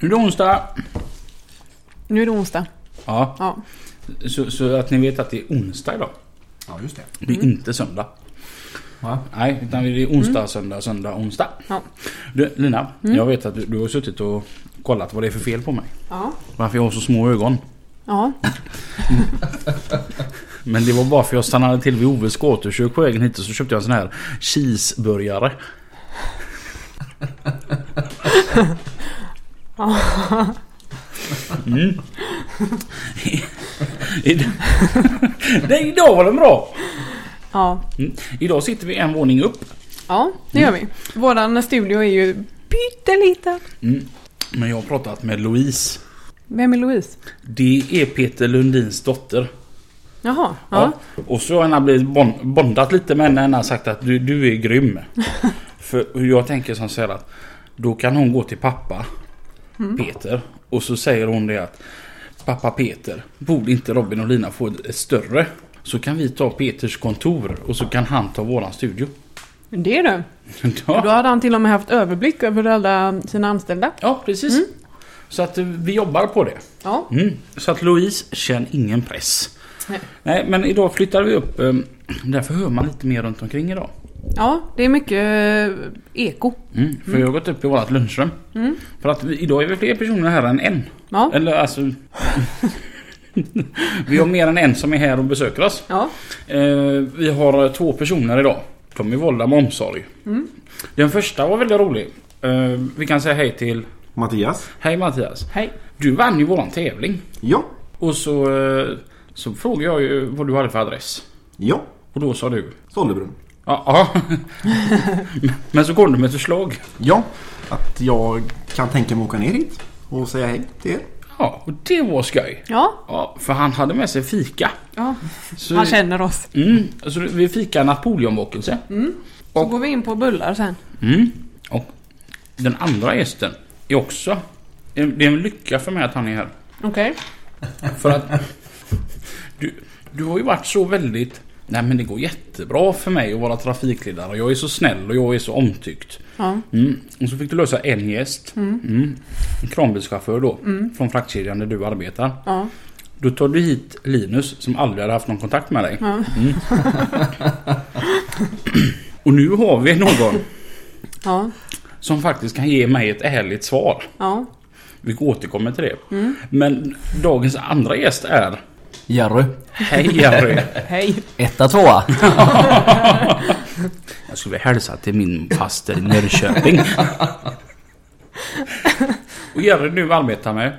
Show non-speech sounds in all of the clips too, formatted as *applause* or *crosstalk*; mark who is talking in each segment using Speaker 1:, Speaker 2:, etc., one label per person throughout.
Speaker 1: Nu är det onsdag.
Speaker 2: Nu är det onsdag.
Speaker 1: Ja,
Speaker 2: Ja.
Speaker 1: så, så att ni vet att det är onsdag idag.
Speaker 3: Ja, just det.
Speaker 1: Det är inte söndag.
Speaker 3: Va?
Speaker 1: Nej, utan det är onsdag, söndag, söndag, onsdag.
Speaker 2: Ja.
Speaker 1: Du, Lina, jag vet att du, du har suttit och kollat vad det är för fel på mig.
Speaker 2: Ja.
Speaker 1: Varför jag har så små ögon.
Speaker 2: Ja.
Speaker 1: Men det var bara för jag stannade till vid Oves gatukök på vägen hit och så köpte jag en sån här cheeseburgare. Mm. *laughs* I- *laughs* Nej, idag var den bra!
Speaker 2: Ja.
Speaker 1: Mm. Idag sitter vi en våning upp.
Speaker 2: Ja, det gör vi. Våran studio är ju pytteliten.
Speaker 1: Mm. Men jag har pratat med Louise.
Speaker 2: Vem är Louise?
Speaker 1: Det är Peter Lundins dotter.
Speaker 2: Jaha.
Speaker 1: Ja.
Speaker 2: Ja.
Speaker 1: Och så har jag blivit bon- bondat lite med henne. Henne har sagt att du, du är grym. För jag tänker som så här att då kan hon gå till pappa Peter och så säger hon det att pappa Peter borde inte Robin och Lina få ett större? Så kan vi ta Peters kontor och så kan han ta våran studio. *laughs*
Speaker 2: Det är du. Då
Speaker 1: ja.
Speaker 2: hade han till och med haft överblick över alla sina anställda.
Speaker 1: ja, precis. Så att eh, vi jobbar på det.
Speaker 2: Ja.
Speaker 1: Mm. Så att Louise känner ingen press.
Speaker 2: Nej.
Speaker 1: Nej, men idag flyttar vi upp. eh, Därför hör man lite mer runt omkring idag.
Speaker 2: Ja, det är mycket eh, eko.
Speaker 1: Mm, för jag har gått upp i vårt lunchrum. För att vi, idag är vi fler personer här än en.
Speaker 2: Mm. Ja.
Speaker 1: Eller alltså... *laughs* vi har mer än en som är här och besöker oss.
Speaker 2: Ja.
Speaker 1: Eh, vi har två personer idag. De är valda med omsorg.
Speaker 2: Mm.
Speaker 1: Den första var väldigt rolig. Eh, vi kan säga hej till...
Speaker 3: Mattias?
Speaker 1: Hej Mattias.
Speaker 2: Hej.
Speaker 1: Du vann ju våran tävling.
Speaker 3: Ja.
Speaker 1: Och så, eh, så frågade jag ju vad du hade för adress.
Speaker 3: Ja.
Speaker 1: Och då sa du...
Speaker 3: Sollebrunn.
Speaker 1: Ja. ja. Men så kom du med ett förslag.
Speaker 3: Ja. Att jag kan tänka mig att åka ner hit och säga hej till er.
Speaker 1: Ja, och det var skoj.
Speaker 2: Ja.
Speaker 1: Ja, för han hade med sig fika.
Speaker 2: ja.
Speaker 1: Så,
Speaker 2: Han känner oss.
Speaker 1: mm, så vi fikade napoleonbakelse.
Speaker 2: Så
Speaker 1: Och-
Speaker 2: går vi in på bullar sen.
Speaker 1: Mm. Och den andra gästen är också... Det är en lycka för mig att han är här.
Speaker 2: Okej.
Speaker 1: För att... Du, du har ju varit så väldigt... Nej men det går jättebra för mig att vara trafikledare. Jag är så snäll och jag är så omtyckt.
Speaker 2: Ja.
Speaker 1: Mm. Och så fick du lösa en gäst. Mm. En kranbilschaufför då.
Speaker 2: Mm.
Speaker 1: Från fraktkedjan där du arbetar.
Speaker 2: Ja.
Speaker 1: Då tar du hit Linus som aldrig hade haft någon kontakt med dig. Mm. Och nu har vi någon
Speaker 2: Ja.
Speaker 1: som faktiskt kan ge mig ett ärligt svar.
Speaker 2: Ja.
Speaker 1: Vi återkommer till det. Men dagens andra gäst är
Speaker 4: Jerry.
Speaker 1: Hej Jerry!
Speaker 2: Hej.
Speaker 4: Etta, tvåa.
Speaker 1: *laughs* Jag skulle hälsa till min faster i Norrköping. Och Jerry nu arbetar med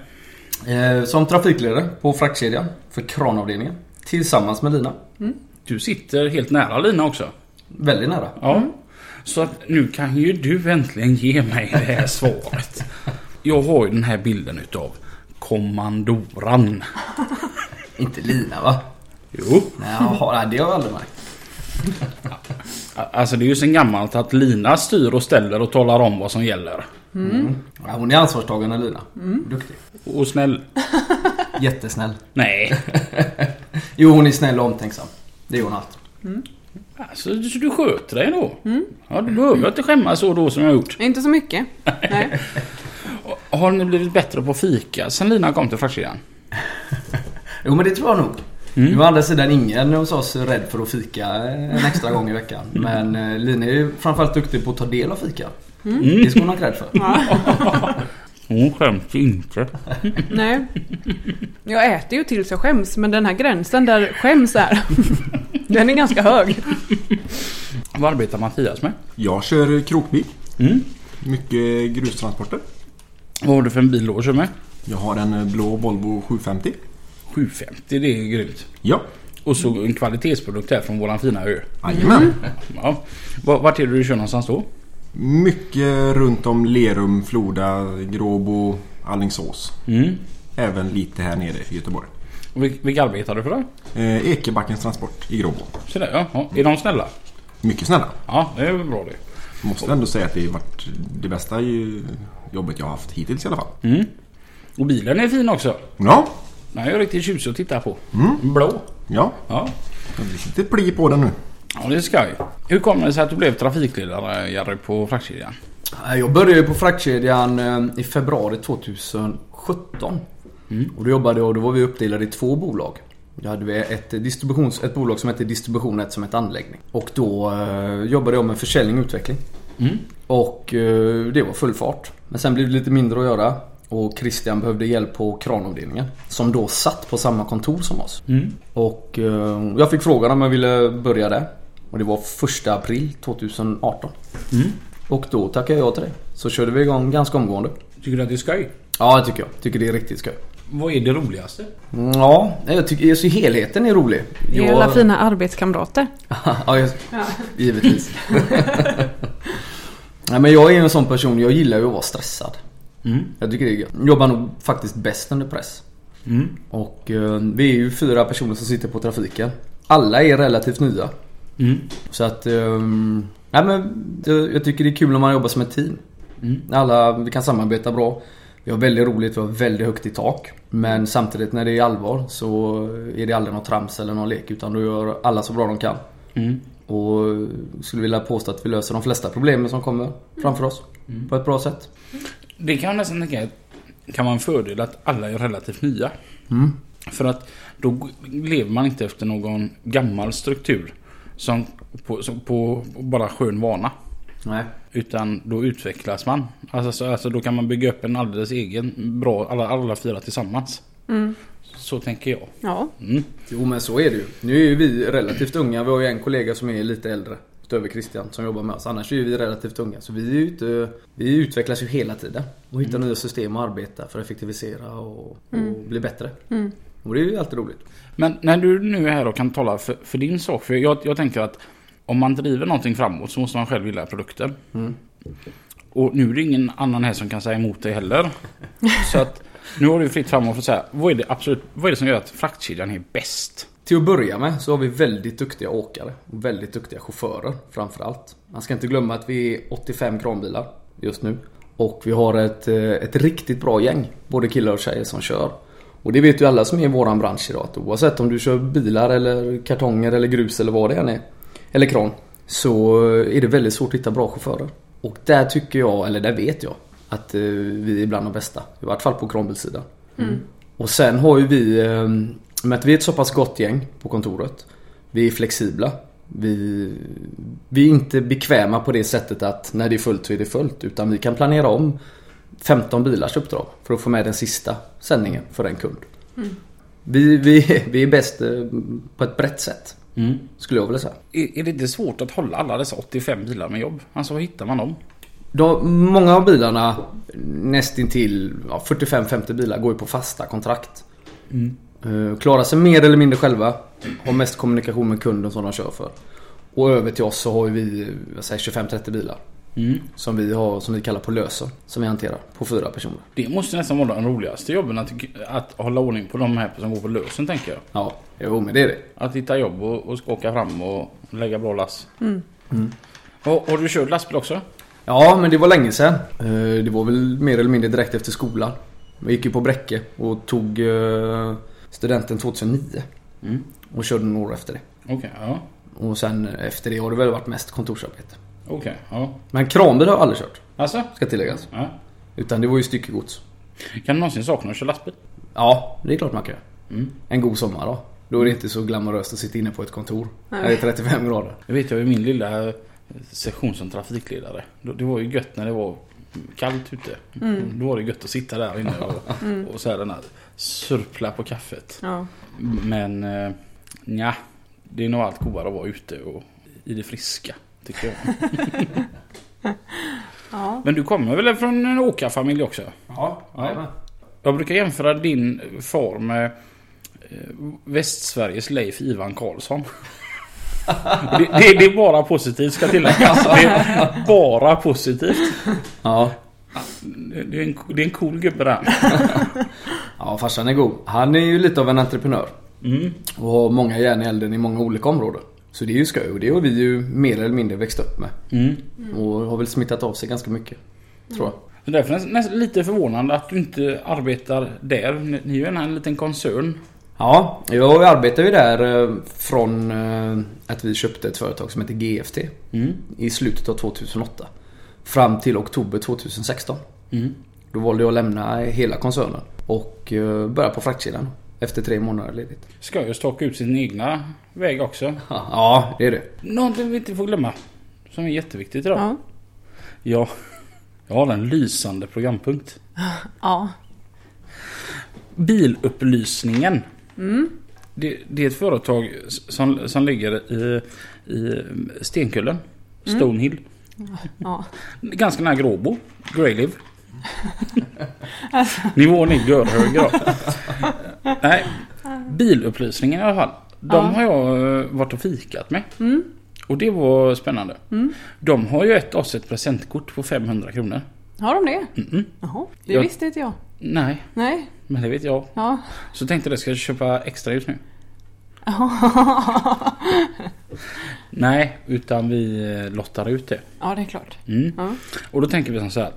Speaker 4: Eh, som trafikledare på fraktkedjan för kranavdelningen. Tillsammans med Lina.
Speaker 1: Du sitter helt nära Lina också.
Speaker 4: Väldigt nära.
Speaker 1: Ja. Så att nu kan ju du äntligen ge mig det *laughs* här svaret. Jag har ju den här bilden utav kommandoran.
Speaker 4: Inte Lina va?
Speaker 1: Jo.
Speaker 4: Nej, jaha, nej, det har jag aldrig märkt.
Speaker 1: a- Alltså det är ju sen gammalt att Lina styr och ställer och talar om vad som gäller.
Speaker 4: Mm. Ja, hon är ansvarstagande Lina. Duktig.
Speaker 1: Och snäll.
Speaker 4: Jättesnäll.
Speaker 1: Nej. *laughs*
Speaker 4: Jo, hon är snäll och omtänksam. Det är hon allt.
Speaker 1: Alltså så du sköter dig då. Ja, du behöver inte skämmas så då som jag har gjort.
Speaker 2: Inte så mycket. Nej.
Speaker 1: Har ni blivit bättre på fika sen Lina kom till fraktkedjan?
Speaker 4: Jo, men det tror jag nog. Nu är å andra sidan ingen hos oss rädd för att fika en extra gång i veckan. Men eh, Lina är ju framförallt duktig på att ta del av fika. Det ska hon ha cred för.
Speaker 1: *laughs* Hon skäms inte.
Speaker 2: Nej. Jag äter ju tills jag skäms, men den här gränsen där skäms är, *laughs* den är ganska hög.
Speaker 1: Vad arbetar Mattias med?
Speaker 3: Jag kör krokbil.
Speaker 1: Mm.
Speaker 3: Mycket grustransporter.
Speaker 1: Vad har du för en bil då att köra med?
Speaker 3: Jag har en blå Volvo 750.
Speaker 1: 750, det är grymt.
Speaker 3: Ja.
Speaker 1: Och så en kvalitetsprodukt här från våran fina ö.
Speaker 3: Jajamän.
Speaker 1: Ja. Va- Vart är det du kör någonstans då?
Speaker 3: Mycket runt om Lerum, Floda, Gråbo, Allingsås.
Speaker 1: Mm.
Speaker 3: Även lite här nere i Göteborg.
Speaker 1: Och vil- Vilka arbetar du för då?
Speaker 3: Eh, Ekebackens Transport i Gråbo.
Speaker 1: Så där, ja, ja. Är de snälla?
Speaker 3: Mycket snälla.
Speaker 1: Ja, det är väl bra det.
Speaker 3: Måste ändå säga att det varit det bästa ju- jobbet jag har haft hittills i alla fall.
Speaker 1: Och bilen är fin också.
Speaker 3: Ja,
Speaker 1: Den är ju riktigt tjusig att titta på. Blå.
Speaker 3: ja.
Speaker 1: Ja.
Speaker 3: Det blir lite pli på den nu.
Speaker 1: ja, det är skoj. Hur kom det sig att du blev trafikledare Jerry på fraktkedjan?
Speaker 4: Eh, Jag började ju på fraktkedjan eh, i februari 2017. Och då jobbade jag och då var vi uppdelade i två bolag. Då hade vi ett, distributions, ett bolag som hette distribution och ett som hette anläggning. Och då eh, jobbade jag med försäljning och utveckling. Och eh, det var full fart. Men sen blev det lite mindre att göra. Och Christian behövde hjälp på kranavdelningen. Som då satt på samma kontor som oss.
Speaker 1: Mm.
Speaker 4: Och eh, jag fick frågan om jag ville börja där. Och det var 1 april 2018. Och då tackade jag ja till det. Så körde vi igång ganska omgående.
Speaker 1: Tycker du att det är skoj?
Speaker 4: Ja, det tycker jag. Tycker det är riktigt skoj.
Speaker 1: Vad är det roligaste?
Speaker 4: Mm, Ja, jag tycker så helheten är rolig.
Speaker 2: Det är
Speaker 4: Jag-
Speaker 2: alla fina arbetskamrater.
Speaker 4: *laughs* ja, jag,
Speaker 2: *laughs*
Speaker 4: givetvis. Nej, men jag är ju en sån person, jag gillar ju att vara stressad. Jag tycker det är gött. Jobbar nog faktiskt bäst under press.
Speaker 1: Mm.
Speaker 4: Och eh, vi är ju fyra personer som sitter på trafiken. Alla är relativt nya.
Speaker 1: Mm.
Speaker 4: Så att... Eh, nej, men jag, jag tycker det är kul när man jobbar som ett team. Alla, vi kan samarbeta bra. Vi har väldigt roligt, vi har väldigt högt i tak. Men samtidigt när det är allvar så är det aldrig något trams eller någon lek. Utan då gör alla så bra de kan.
Speaker 1: Mm.
Speaker 4: Och skulle vilja påstå att vi löser de flesta problemen som kommer framför oss. På ett bra sätt.
Speaker 1: Det kan jag nästan tänka att kan vara en fördel att alla är relativt nya. För att då g- lever man inte efter någon gammal struktur som på, som på bara skön vana.
Speaker 4: Nej.
Speaker 1: Utan då utvecklas man. Alltså, så, alltså då kan man bygga upp en alldeles egen bra, alla, alla fyra tillsammans. Så tänker jag.
Speaker 2: Ja,
Speaker 4: Jo men så är det ju. Nu är ju vi relativt unga. Vi har ju en kollega som är lite äldre. Utöver Christian som jobbar med oss. Annars är ju vi relativt unga. Så vi, är ju ute, vi utvecklas ju hela tiden. Och hittar
Speaker 1: Mm.
Speaker 4: nya system att arbeta för att effektivisera och, och bli bättre.
Speaker 1: Mm.
Speaker 4: Och det är ju alltid roligt.
Speaker 1: Men när du nu är här och kan tala för, för din sak. För jag, jag tänker att om man driver någonting framåt så måste man själv gilla produkten. Och nu är det ingen annan här som kan säga emot dig heller. Så att nu har du fritt fram och får säga vad är det absolut, vad är det som gör att fraktkedjan är bäst?
Speaker 4: Till att börja med så har vi väldigt duktiga åkare och väldigt duktiga chaufförer framförallt. Man ska inte glömma att vi är 85 kranbilar just nu. Och vi har ett, eh, ett riktigt bra gäng, både killar och tjejer som kör. Och det vet ju alla som är i våran bransch idag att oavsett om du kör bilar eller kartonger eller grus eller vad det än är. Eller kran. Så eh, är det väldigt svårt att hitta bra chaufförer. Och där tycker jag, eller där vet jag, att eh, vi är bland de bästa. I vart fall på kranbilssidan. Och sen har ju vi, eh, med att vi är ett så pass gott gäng på kontoret. Vi är flexibla. Vi, vi är inte bekväma på det sättet att när det är fullt så är det fullt. Utan vi kan planera om 15 bilars uppdrag för att få med den sista sändningen för en kund. Vi, vi, *laughs* vi är bäst eh, på ett brett sätt. Skulle jag vilja säga.
Speaker 1: Är, är det inte svårt att hålla alla dessa 85 bilar med jobb? Alltså var hittar man dem?
Speaker 4: De, många av bilarna, nästintill ja, 45-50 bilar, går ju på fasta kontrakt. Eh, klarar sig mer eller mindre själva. Har mest kommunikation med kunden som de kör för. Och över till oss så har ju vi eh, jag säger 25-30 bilar. Som vi har, som vi kallar på lösen. Som vi hanterar på fyra personer.
Speaker 1: Det måste nästan vara de roligaste jobben att, att hålla ordning på de här som går på lösen tänker jag.
Speaker 4: Ja, jo men det är det.
Speaker 1: Att hitta jobb och, och skaka fram och lägga bra lass. Och, har du kört lastbil också?
Speaker 4: Ja, men det var länge sedan. Eh, Det var väl mer eller mindre direkt efter skolan. Jag gick ju på Bräcke och tog eh, studenten 2009. Och körde några år efter det.
Speaker 1: Okej, ja.
Speaker 4: Och sen efter det har det väl varit mest kontorsarbete.
Speaker 1: Okej, ja.
Speaker 4: Men kranbil har jag aldrig kört,
Speaker 1: Alltså?
Speaker 4: ska tilläggas.
Speaker 1: Ja.
Speaker 4: Utan det var ju styckegods.
Speaker 1: Kan du någonsin sakna att köra lastbil?
Speaker 4: Ja, det är klart man kan göra. Mm. En god sommar då. Då är det inte så glamoröst att sitta inne på ett kontor. När det är 35 grader.
Speaker 1: Det vet jag i min lilla session som trafikledare. Då- Det var ju gött när det var kallt ute.
Speaker 2: Mm,
Speaker 1: Då var det gött att sitta där inne och, och så här den här surpla på kaffet.
Speaker 2: ja.
Speaker 1: Men eh, nja, det är nog allt godare att vara ute och i det friska. Tycker jag.
Speaker 2: ja.
Speaker 1: Men du kommer väl från en åkarfamilj också?
Speaker 4: Ja,
Speaker 1: jajamän. Jag brukar jämföra din far med eh, Västsveriges Leif Ivan Karlsson. Det, det, det är bara positivt ska tilläggas. Det är bara positivt.
Speaker 4: Ja.
Speaker 1: Det det är en, det är en cool gubbe där.
Speaker 4: ja, farsan är god. Han är ju lite av en entreprenör.
Speaker 1: Mm,
Speaker 4: Och har många järn i elden i många olika områden. Så det är ju skoj och det har vi ju mer eller mindre växt upp med.
Speaker 1: Mm.
Speaker 4: Och har väl smittat av sig ganska mycket. Tror jag.
Speaker 1: Så därför är det nästan lite förvånande att du inte arbetar där. Ni ni är ju en liten koncern.
Speaker 4: Ja, jag arbetar ju där eh, från eh, att vi köpte ett företag som heter GFT
Speaker 1: Mm,
Speaker 4: i slutet av 2008. Fram till oktober 2016.
Speaker 1: Mm.
Speaker 4: Då valde jag att lämna hela koncernen och eh, börja på fraktkedjan efter tre månader ledigt.
Speaker 1: Ska ju staka ut sin egna väg också.
Speaker 4: Ja, det är det.
Speaker 1: Någonting vi inte får glömma. Som är jätteviktigt idag.
Speaker 2: Ja.
Speaker 1: Ja. Jag har en lysande programpunkt.
Speaker 2: ja.
Speaker 1: Bilupplysningen. Det, det är ett företag som, som ligger i, i Stenkullen. Stonehill.
Speaker 2: ja.
Speaker 1: Ganska nära Gråbo. Grayliv. Nivån är görhög idag. Nej, bilupplysningen i alla fall. De har jag eh, varit och fikat med. Och det var spännande. De har ju ett oss ett presentkort på 500 kronor.
Speaker 2: Har de det?
Speaker 1: Mm-mm.
Speaker 2: Jaha, det
Speaker 1: Jag-
Speaker 2: visste inte jag.
Speaker 1: Nej,
Speaker 2: Nej.
Speaker 1: men det vet jag.
Speaker 2: Ja.
Speaker 1: Så tänkte jag ska jag köpa extra just nu. Nej, utan vi eh, lottar ut det.
Speaker 2: ja, det är klart.
Speaker 1: Mm.
Speaker 2: Ja.
Speaker 1: Och då tänker vi som så här.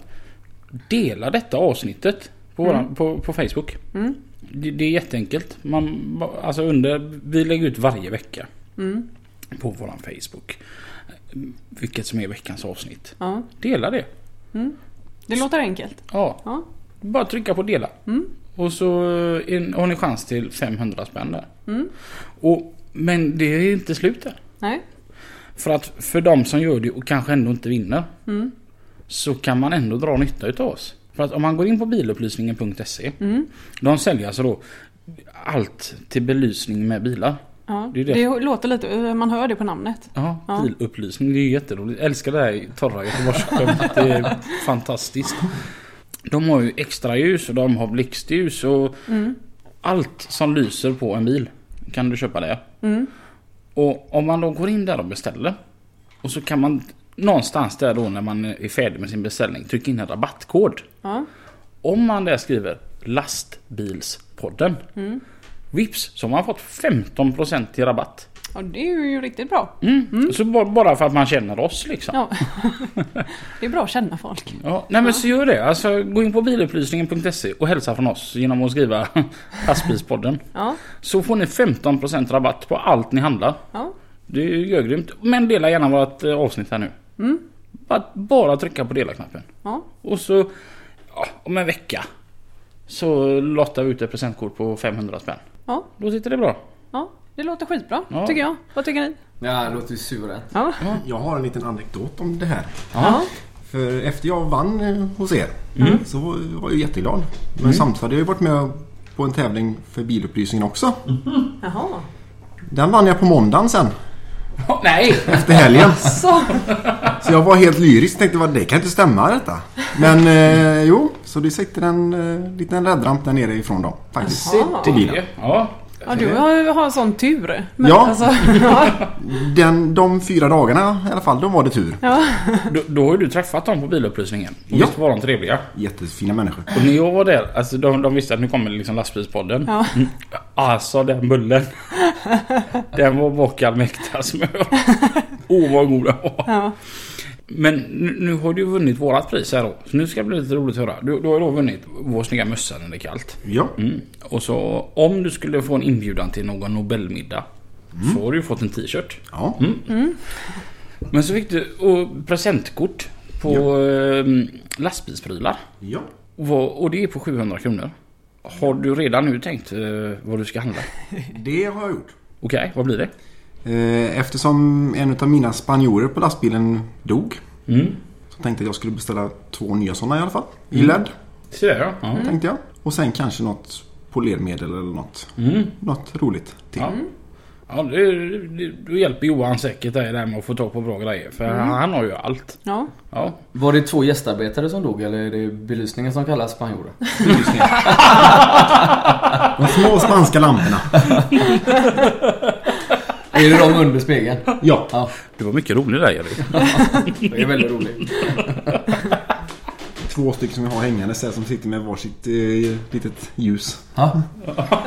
Speaker 1: Dela detta avsnittet på, våran, på, på Facebook.
Speaker 2: Mm.
Speaker 1: Det, det är jätteenkelt. Man, ba- alltså under, vi lägger ut varje vecka
Speaker 2: Mm.
Speaker 1: på våran Facebook. Vilket som är veckans avsnitt.
Speaker 2: Ja.
Speaker 1: Dela det.
Speaker 2: Det låter enkelt.
Speaker 1: Ja.
Speaker 2: Ja. Mm.
Speaker 1: Bara trycka på dela. Och så är- har ni chans till 500 spänn där.
Speaker 2: Mm.
Speaker 1: Och, men det är inte slut där.
Speaker 2: Nej.
Speaker 1: För att för de som gör det och kanske ändå inte vinner. Så kan man ändå dra nytta utav oss. För att om man går in på bilupplysningen.se. De säljer alltså då allt till belysning med bilar.
Speaker 2: Ja.
Speaker 1: Det
Speaker 2: Det,
Speaker 1: är det.
Speaker 2: låter lite, man hör det på namnet.
Speaker 1: Ja,
Speaker 2: Ja.
Speaker 1: bilupplysning. Det är ju jätteroligt. Jag älskar det här torra Göteborgsskämt.
Speaker 2: *laughs*
Speaker 1: Det är fantastiskt. De har ju extra ljus och de har blixtljus och
Speaker 2: Mm.
Speaker 1: allt som lyser på en bil kan du köpa där.
Speaker 2: Mm.
Speaker 1: Och om man då går in där och beställer och så kan man någonstans där då när man är färdig med sin beställning trycka in en rabattkod.
Speaker 2: Ja.
Speaker 1: Om man där skriver lastbilspodden.
Speaker 2: Mm.
Speaker 1: Vips så har man fått 15% i rabatt.
Speaker 2: Ja, det är ju riktigt bra.
Speaker 1: Mm. Så ba- bara för att man känner oss liksom. Ja.
Speaker 2: Ja. *laughs* det är bra att känna folk.
Speaker 1: Nej men så gör det. Alltså, gå in på bilupplysningen.se och hälsa från oss genom att skriva *laughs* lastbilspodden.
Speaker 2: Ja.
Speaker 1: Så får ni 15% rabatt på allt ni handlar.
Speaker 2: Ja.
Speaker 1: Det är ju görgrymt. Men dela gärna vårt eh, avsnitt här nu. Mm. Bara, bara trycka på dela-knappen.
Speaker 2: Ja.
Speaker 1: Och så ja, om en vecka så lottar vi ut ett presentkort på 500 spänn.
Speaker 2: Ja.
Speaker 1: Då sitter det bra.
Speaker 2: Ja. Det låter skitbra
Speaker 1: Ja.
Speaker 2: tycker jag. Vad tycker ni?
Speaker 4: Ja, det låter ju surätt.
Speaker 2: Ja.
Speaker 3: Jag har en liten anekdot om det här.
Speaker 2: Ja.
Speaker 3: För efter jag vann eh, hos er så var jag ju jätteglad. Men samtidigt hade jag ju varit med på en tävling för bilupplysningen också.
Speaker 2: Jaha.
Speaker 3: Den vann jag på måndagen sen,
Speaker 1: nej!
Speaker 3: efter helgen.
Speaker 2: Så.
Speaker 3: Så jag var helt lyrisk tänkte vad det kan inte stämma detta. Men eh, jo, så det sitter en eh, liten räddramp där nere ifrån dem faktiskt. Till bilen.
Speaker 1: Ja.
Speaker 2: Ja, du har ju har en sån tur. Men
Speaker 3: Ja.
Speaker 2: Alltså, ja.
Speaker 3: Den, de fyra dagarna i alla fall, då var det tur.
Speaker 1: Då, då har ju du träffat dem på bilupplysningen. Och Visst var de trevliga?
Speaker 3: Jättefina människor.
Speaker 1: Och när jag var där, alltså de, de visste att nu kommer liksom lastbilspodden.
Speaker 2: Ja.
Speaker 1: Mm. Alltså den bullen. den var bakad med äkta smör. alltså. Åh vad god den var.
Speaker 2: Ja.
Speaker 1: Men nu, nu har du vunnit vårat pris här då. Så nu ska det bli lite roligt att höra. Du, du har ju då vunnit vår snygga mössa när det är kallt.
Speaker 3: Ja,
Speaker 1: Mm. Och så om du skulle få en inbjudan till någon Nobelmiddag. Så har du ju fått en t-shirt.
Speaker 3: ja.
Speaker 1: Men så fick du och presentkort på eh, lastbilsprylar.
Speaker 3: ja.
Speaker 1: Och, vad, och det är på 700 kronor. Har du redan nu tänkt eh, vad du ska handla?
Speaker 3: det har jag gjort.
Speaker 1: Okej, vad blir det?
Speaker 3: Eh, Eftersom en av mina spanjorer på lastbilen dog
Speaker 1: Mm.
Speaker 3: så tänkte jag att jag skulle beställa två nya sådana i alla fall. I LED,
Speaker 1: Se där ja. ja.
Speaker 3: tänkte jag. Mm. Och sen kanske något polermedel eller något. Något roligt till.
Speaker 1: Ja. Ja, det, det, då hjälper Johan säkert dig där med att få tag på bra grejer. För han, han har ju allt.
Speaker 2: ja. *laughs*
Speaker 1: Ja.
Speaker 4: Var det två gästarbetare som dog eller är det belysningen som kallas spanjorer?
Speaker 3: *laughs* De små spanska lamporna.
Speaker 4: Är det de under spegeln?
Speaker 3: Ja.
Speaker 4: Ja,
Speaker 1: Du var mycket rolig där Erik.
Speaker 4: det är väldigt roligt.
Speaker 3: Två stycken som jag har hängande så här, som sitter med varsitt eh, litet ljus.
Speaker 4: Ja.
Speaker 2: Ja,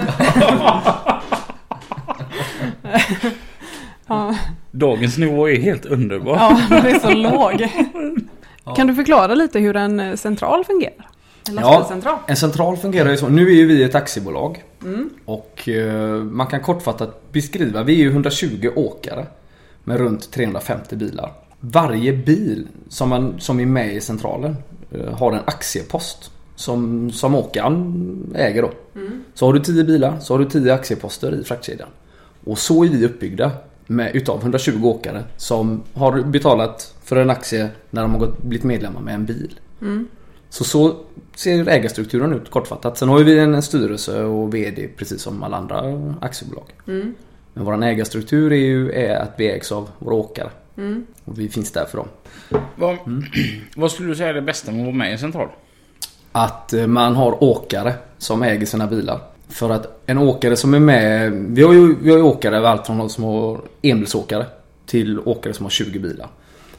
Speaker 1: *laughs* Dagens nivå är helt underbar.
Speaker 2: ja den är så låg. Kan du förklara lite hur en eh, central fungerar? En lastbilscentral?
Speaker 4: En central fungerar ju så. Nu är ju vi ett aktiebolag. Och eh, man kan kortfattat beskriva, vi är ju 120 åkare. Med runt 350 bilar. Varje bil som, man, som är med i centralen eh, har en aktiepost. Som, som åkaren äger då. Så har du 10 bilar så har du 10 aktieposter i fraktkedjan. Och så är vi uppbyggda med, utav 120 åkare som har betalat för en aktie när de har gått, blivit medlemmar med en bil. Så så ser ägarstrukturen ut kortfattat. Sen har ju vi en styrelse och VD precis som alla andra aktiebolag. Men vår ägarstruktur är ju är att vi ägs av våra åkare. Och vi finns där för dem.
Speaker 1: Vad, *clears throat* vad skulle du säga är det bästa med att vara med i en central?
Speaker 4: Att eh, man har åkare som äger sina bilar. För att en åkare som är med. Vi har ju, vi har ju åkare över allt från de som har enbilsåkare till åkare som har 20 bilar.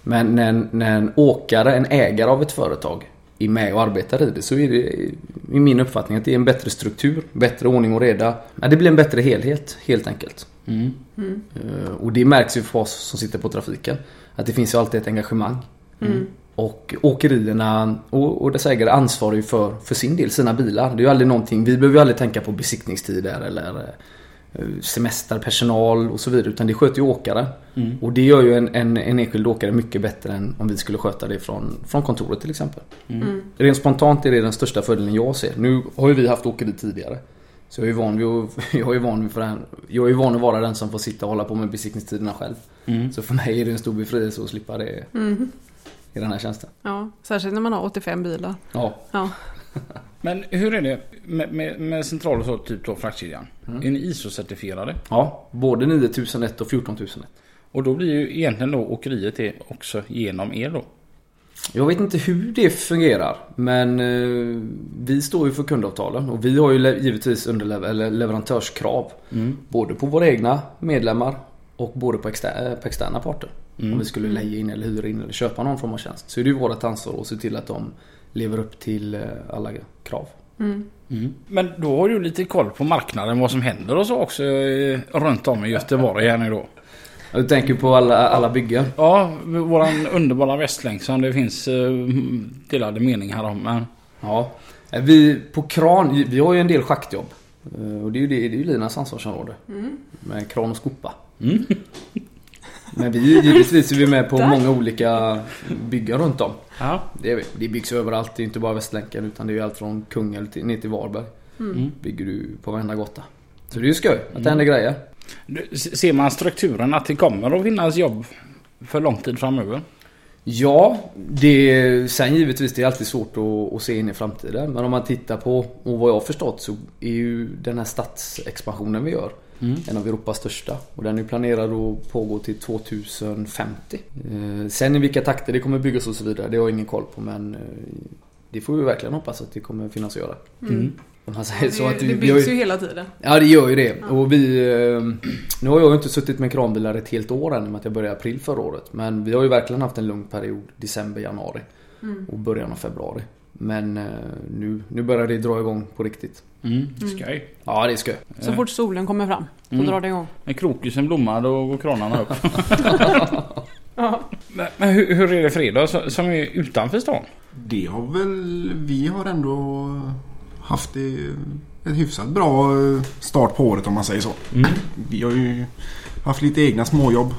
Speaker 4: Men när en, när en åkare, en ägare av ett företag är med och arbetar i det så är det i min uppfattning att det är en bättre struktur, bättre ordning och reda. Ja, det blir en bättre helhet helt enkelt. Eh, Och det märks ju för oss som sitter på trafiken. Att det finns ju alltid ett engagemang. Och åkerierna och, och dess ägare ansvarar ju för, för sin del, sina bilar. Det är ju aldrig någonting, vi behöver ju aldrig tänka på besiktningstider eller eh, semester, personal och så vidare. Utan det sköter ju åkare. Och det gör ju en, en, en enskild åkare mycket bättre än om vi skulle sköta det från, från kontoret till exempel. Rent spontant är det den största fördelen jag ser. Nu har ju vi haft åkeri tidigare. Så jag är ju van vid att, *laughs* jag är van vid för den, jag är van att vara den som får sitta och hålla på med besiktningstiderna själv. Så för mig är det en stor befrielse att slippa det i den här tjänsten.
Speaker 2: Ja, särskilt när man har 85 bilar.
Speaker 4: Ja.
Speaker 2: Ja.
Speaker 1: Men hur är det med, med, med central och så, typ då fraktkedjan? Är ni ISO-certifierade?
Speaker 4: ja, både 9001 och 14001.
Speaker 1: Och då blir ju egentligen då åkeriet det också genom er då.
Speaker 4: Jag vet inte hur det fungerar men eh, vi står ju för kundavtalen och vi har ju le- givetvis underlever- eller leverantörskrav. Både på våra egna medlemmar och både på, exter- eh, på externa parter. Om vi skulle leja in eller hyra in eller köpa någon form av tjänst så är det ju vårt ansvar att se till att de lever upp till eh, alla krav.
Speaker 1: Men då har du lite koll på marknaden, vad som händer och så också eh, runt om i Göteborg här nu då.
Speaker 4: Ja, Du tänker på alla, alla byggen?
Speaker 1: Ja, våran underbara Västlänken, det finns eh, delade meningar om. Men
Speaker 4: Ja. Eh, Vi på kran, vi har ju en del schaktjobb. Eh, Och det är ju, det, det är ju Linas ansvarsområde. Med kran och skopa.
Speaker 1: Mm.
Speaker 4: Men vi är ju- givetvis är vi med på många olika byggen runt om.
Speaker 1: ja.
Speaker 4: Det, är vi. det byggs ju överallt, det är inte bara Västlänken utan det är ju allt från Kungälv till, ner till Varberg. Bygger du på varenda gata. Så det är ju skoj att det händer grejer.
Speaker 1: Du, se- Ser man strukturen att det kommer att finnas jobb för lång tid framöver?
Speaker 4: Ja, det, sen givetvis det är alltid svårt att, att se in i framtiden. Men om man tittar på, och vad jag har förstått så är ju den här stadsexpansionen vi gör
Speaker 1: Mm.
Speaker 4: en av Europas största. Och den är planerad att pågå till 2050. Eh, sen i vilka takter det kommer byggas och så vidare, det har jag ingen koll på. Men eh, det får vi verkligen hoppas att det kommer finnas att göra.
Speaker 1: Mm.
Speaker 4: Om man säger
Speaker 2: Det,
Speaker 4: så att vi,
Speaker 2: det
Speaker 4: vi har
Speaker 2: byggs
Speaker 4: ju-
Speaker 2: ju hela tiden.
Speaker 4: Ja det gör ju det. Och vi, eh, *clears throat* nu har jag ju inte suttit med kranbilar ett helt år än i och med att jag började i april förra året. Men vi har ju verkligen haft en lugn period. December, januari
Speaker 2: Mm.
Speaker 4: och början av februari. Men eh, nu, nu börjar det dra igång på riktigt.
Speaker 1: Mm. Skoj.
Speaker 4: Ja det är skoj.
Speaker 2: Så fort solen kommer fram så drar det igång.
Speaker 1: När krokusen blommar då går kranarna *laughs* upp. men men hur, hur är det för er då, så- som är utanför stan?
Speaker 3: Det har väl... Vi har ändå haft det, ett hyfsat bra eh, start på året om man säger så.
Speaker 1: Mm.
Speaker 3: Vi har ju haft lite egna småjobb.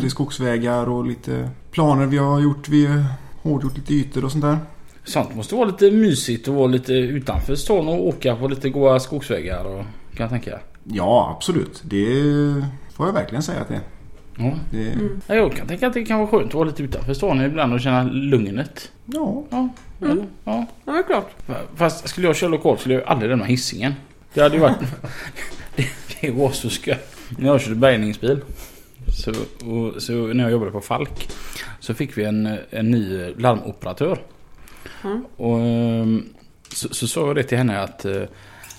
Speaker 3: Till skogsvägar och lite planer vi har gjort. Vi har hårdgjort lite ytor och sånt där.
Speaker 1: Sånt måste vara lite mysigt att vara lite utanför stan och åka på lite goa skogsvägar och, kan jag tänka.
Speaker 3: Ja, absolut. Det får jag verkligen säga att det är.
Speaker 1: Ja.
Speaker 3: Det,
Speaker 1: Ja, Jag kan tänka att det kan vara skönt att vara lite utanför stan ibland och känna lugnet.
Speaker 3: Ja,
Speaker 1: Ja, eller? ja.
Speaker 2: Ja, det är klart.
Speaker 1: Fast skulle jag köra lokalt skulle jag aldrig lämna hissingen. Det hade ju varit... det, det var så skoj. När jag körde bärgningsbil. Så, och, så när jag jobbade på Falk. Så fick vi en, en ny larmoperatör. Och, ehm, så, så sa jag det till henne att eh,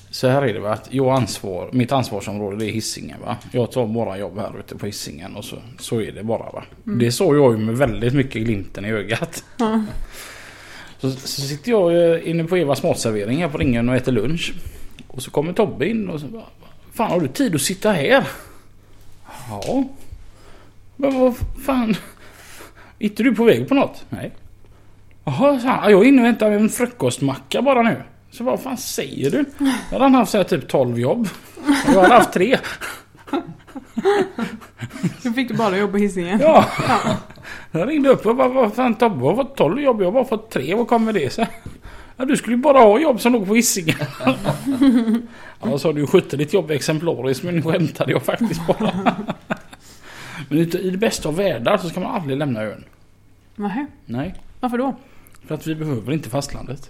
Speaker 1: Så här är det va, att jag ansvar, mitt ansvarsområde det är hissingen va. Jag tar bara jobb här ute på hissingen och så, så är det bara va. Det sa jag ju med väldigt mycket glimten i ögat.
Speaker 2: Ja.
Speaker 1: Så, så sitter jag eh, inne på Evas matservering här på ringen och äter lunch. Och så kommer Tobbe in och så bara, Fan har du tid att sitta här? Ja. Men vad fan. Är inte du på väg på något? Nej. Jaha, sa han. Jag är inne och hämtar en frukostmacka bara nu. Så vad fan säger du? Då hade han haft så här typ 12 jobb. Och jag hade haft tre.
Speaker 2: Du fick du bara jobb på Hisingen.
Speaker 1: Ja. Jag ringde upp och bara, vad fan Tobbe har fått 12 jobb, jag har bara fått tre. Vad kommer det sig? Ja, du skulle ju bara ha jobb som låg på Hisingen. *laughs* Ja, sa du skötte ditt jobb exemplariskt men nu skämtade jag faktiskt bara. *laughs* Men ute i det bästa av världar så ska man aldrig lämna ön.
Speaker 2: Nähä,
Speaker 1: Nej,
Speaker 2: varför då?
Speaker 1: för att vi behöver inte fastlandet.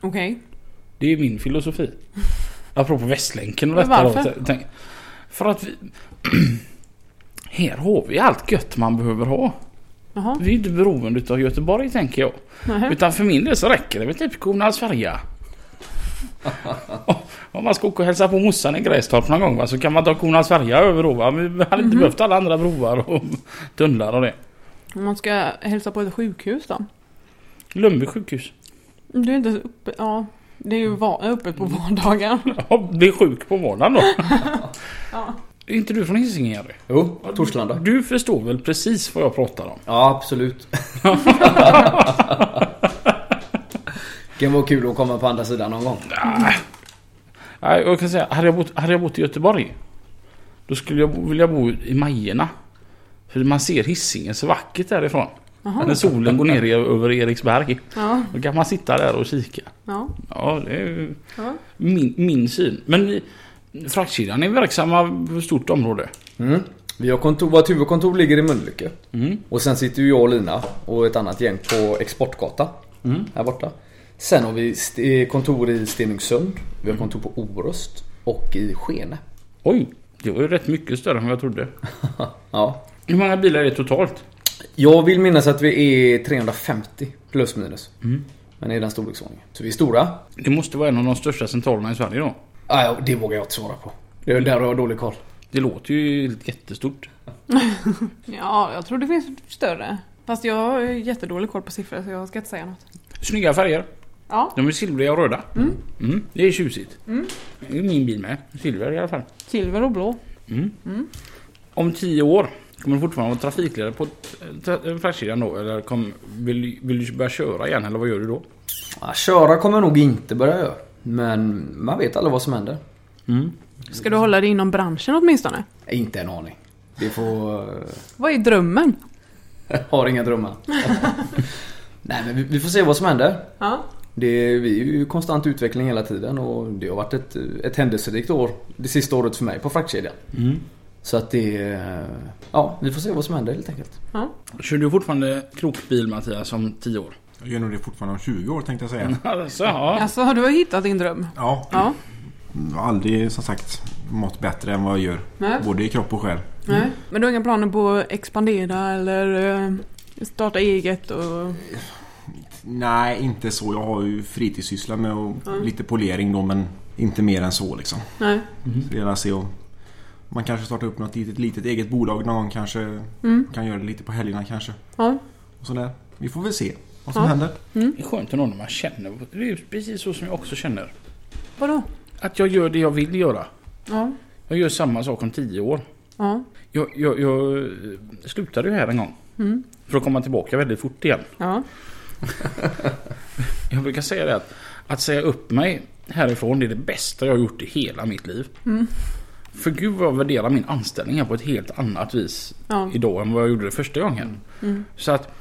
Speaker 2: Okej.
Speaker 1: Det är min filosofi. Apropå Västlänken och detta
Speaker 2: Men
Speaker 1: då,
Speaker 2: varför?
Speaker 1: t- tänk- För att vi... *clears throat* Här har vi allt gött man behöver ha.
Speaker 2: Jaha,
Speaker 1: Vi är inte beroende av Göteborg tänker jag.
Speaker 2: nähä.
Speaker 1: Utan för min del så räcker det med typ Kornhallsfärja. Om man ska åka och hälsa på morsan i Grästorp någon gång va, så kan man ta Kornhallsfärja över då va. Men Vi hade inte behövt alla andra broar och tunnlar och det.
Speaker 2: Om man ska hälsa på ett sjukhus då?
Speaker 1: Lundby sjukhus.
Speaker 2: Du är inte så uppe, ja. Det är ju va- uppe på *laughs* vardagar.
Speaker 1: Ja, bli sjuk på månaden då.
Speaker 2: Ja.
Speaker 1: Är inte du från Hisingen Jerry?
Speaker 4: Jo, Torslanda.
Speaker 1: Du förstår väl precis vad jag pratar om?
Speaker 4: Ja, absolut. Det kan vara kul att komma på andra sidan någon gång.
Speaker 1: Nej, jag kan säga, hade jag bott, hade jag bott i Göteborg Då skulle jag bo- vilja bo i Majerna För man ser Hisingen så vackert därifrån När solen går ner i- över Eriksberg
Speaker 2: Ja,
Speaker 1: Då kan man sitta där och kika
Speaker 2: ja.
Speaker 1: Ja, det är ju
Speaker 2: ja.
Speaker 1: min, min syn Men vi, fraktkedjan är verksamma på ett stort område
Speaker 4: Mm. Vi har kontor, vårt huvudkontor ligger i Mölnlycke. Och sen sitter ju jag och Lina och ett annat gäng på Exportgatan. Här borta. Sen har vi st- eh, kontor i Stenungsund. Vi har kontor på Orust. Och i Skene. *laughs*
Speaker 1: Oj, det var ju rätt mycket större än vad jag trodde
Speaker 4: Ja.
Speaker 1: Hur många bilar är det totalt?
Speaker 4: Jag vill minnas att vi är 350 plus minus. Men i den storleksordningen. Så vi är stora.
Speaker 1: Det måste vara en av de största centralerna i Sverige då
Speaker 4: Ah, ja, det vågar jag inte svara på. Det är där har jag dålig koll.
Speaker 1: Det låter ju helt jättestort
Speaker 2: Ja, jag tror det finns större. Fast jag har ju jättedålig koll på siffror så jag ska inte säga något.
Speaker 1: Snygga färger
Speaker 2: Ja,
Speaker 1: De är silvriga och röda. Mm, det är tjusigt. Det är min bil med. Silver i alla fall.
Speaker 2: silver och blå.
Speaker 1: Om tio år kommer du fortfarande vara trafikledare på tra- fraktkedjan då? Eller kom, vill, vill du börja köra igen eller vad gör du då?
Speaker 4: Ah, köra kommer jag nog inte börja göra. Men man vet aldrig vad som händer.
Speaker 1: Mm.
Speaker 2: Ska du hålla dig inom branschen åtminstone?
Speaker 4: Inte en aning. Vi får... eh,
Speaker 2: Vad är drömmen?
Speaker 4: Har inga drömmar. Nej men vi, vi får se vad som händer.
Speaker 2: Ja.
Speaker 4: Det är, vi är ju i konstant utveckling hela tiden och det har varit ett, ett händelserikt år. Det sista året för mig på fraktkedjan.
Speaker 1: Mm.
Speaker 4: Så att det... är- Ja, vi får se vad som händer helt enkelt.
Speaker 2: ja.
Speaker 1: Kör du fortfarande krokbil Mattias om tio år?
Speaker 3: Jag gör nog det fortfarande om 20 år tänkte jag säga.
Speaker 1: *laughs* Alltså, ja.
Speaker 2: Alltså, har du hittat din dröm?
Speaker 3: Ja,
Speaker 2: Ja.
Speaker 3: jag har aldrig som sagt mått bättre än vad jag gör.
Speaker 2: Nej.
Speaker 3: Både i kropp och själ.
Speaker 2: Nej. Men du har inga planer på att expandera eller eh, starta eget och...
Speaker 3: Nej, inte så. Jag har ju fritidssyssla med och lite polering då men inte mer än så liksom.
Speaker 2: Nej.
Speaker 3: Så det gäller att se och man kanske startar upp något litet, litet eget bolag någon gång kanske. Kan göra det lite på helgerna kanske.
Speaker 2: Ja.
Speaker 3: Och sådär. Vi får väl se vad som
Speaker 2: Ja.
Speaker 3: händer.
Speaker 1: Det är skönt ändå när man känner. Det är ju precis så som jag också känner.
Speaker 2: Vadå?
Speaker 1: Att jag gör det jag vill göra.
Speaker 2: Ja.
Speaker 1: Jag gör samma sak om tio år.
Speaker 2: Ja.
Speaker 1: Jag, jag, jag eh, slutade ju här en gång. För att komma tillbaka väldigt fort igen.
Speaker 2: Ja.
Speaker 1: Jag brukar säga det att, att säga upp mig härifrån det är det bästa jag har gjort i hela mitt liv. För gud vad jag värderar min anställning här på ett helt annat vis
Speaker 2: Ja.
Speaker 1: idag än vad jag gjorde det första gången. Så att,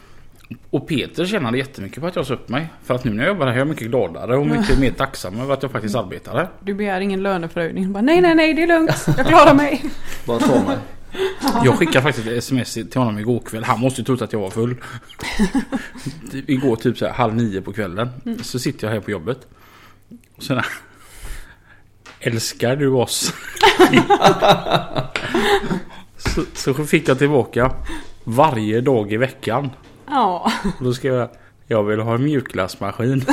Speaker 1: och Peter tjänade jättemycket på att jag sa upp mig. För att nu när jag jobbar här är jag mycket gladare och mycket mer tacksam över att jag faktiskt arbetar här.
Speaker 2: Du begär ingen löneförhöjning. Du Bara, nej, nej, nej, det är lugnt. Jag klarar *laughs* mig.
Speaker 4: Bara ta mig.
Speaker 1: Jag skickade faktiskt ett sms till honom igår kväll. Han måste ju trott att jag var full. Typ igår typ så här, halv nio på kvällen. Så sitter jag här på jobbet. Och sen... Älskar du oss? *laughs* så, så fick jag tillbaka varje dag i veckan.
Speaker 2: Ja. *laughs*
Speaker 1: Och då skrev jag jag vill ha en mjukglassmaskin.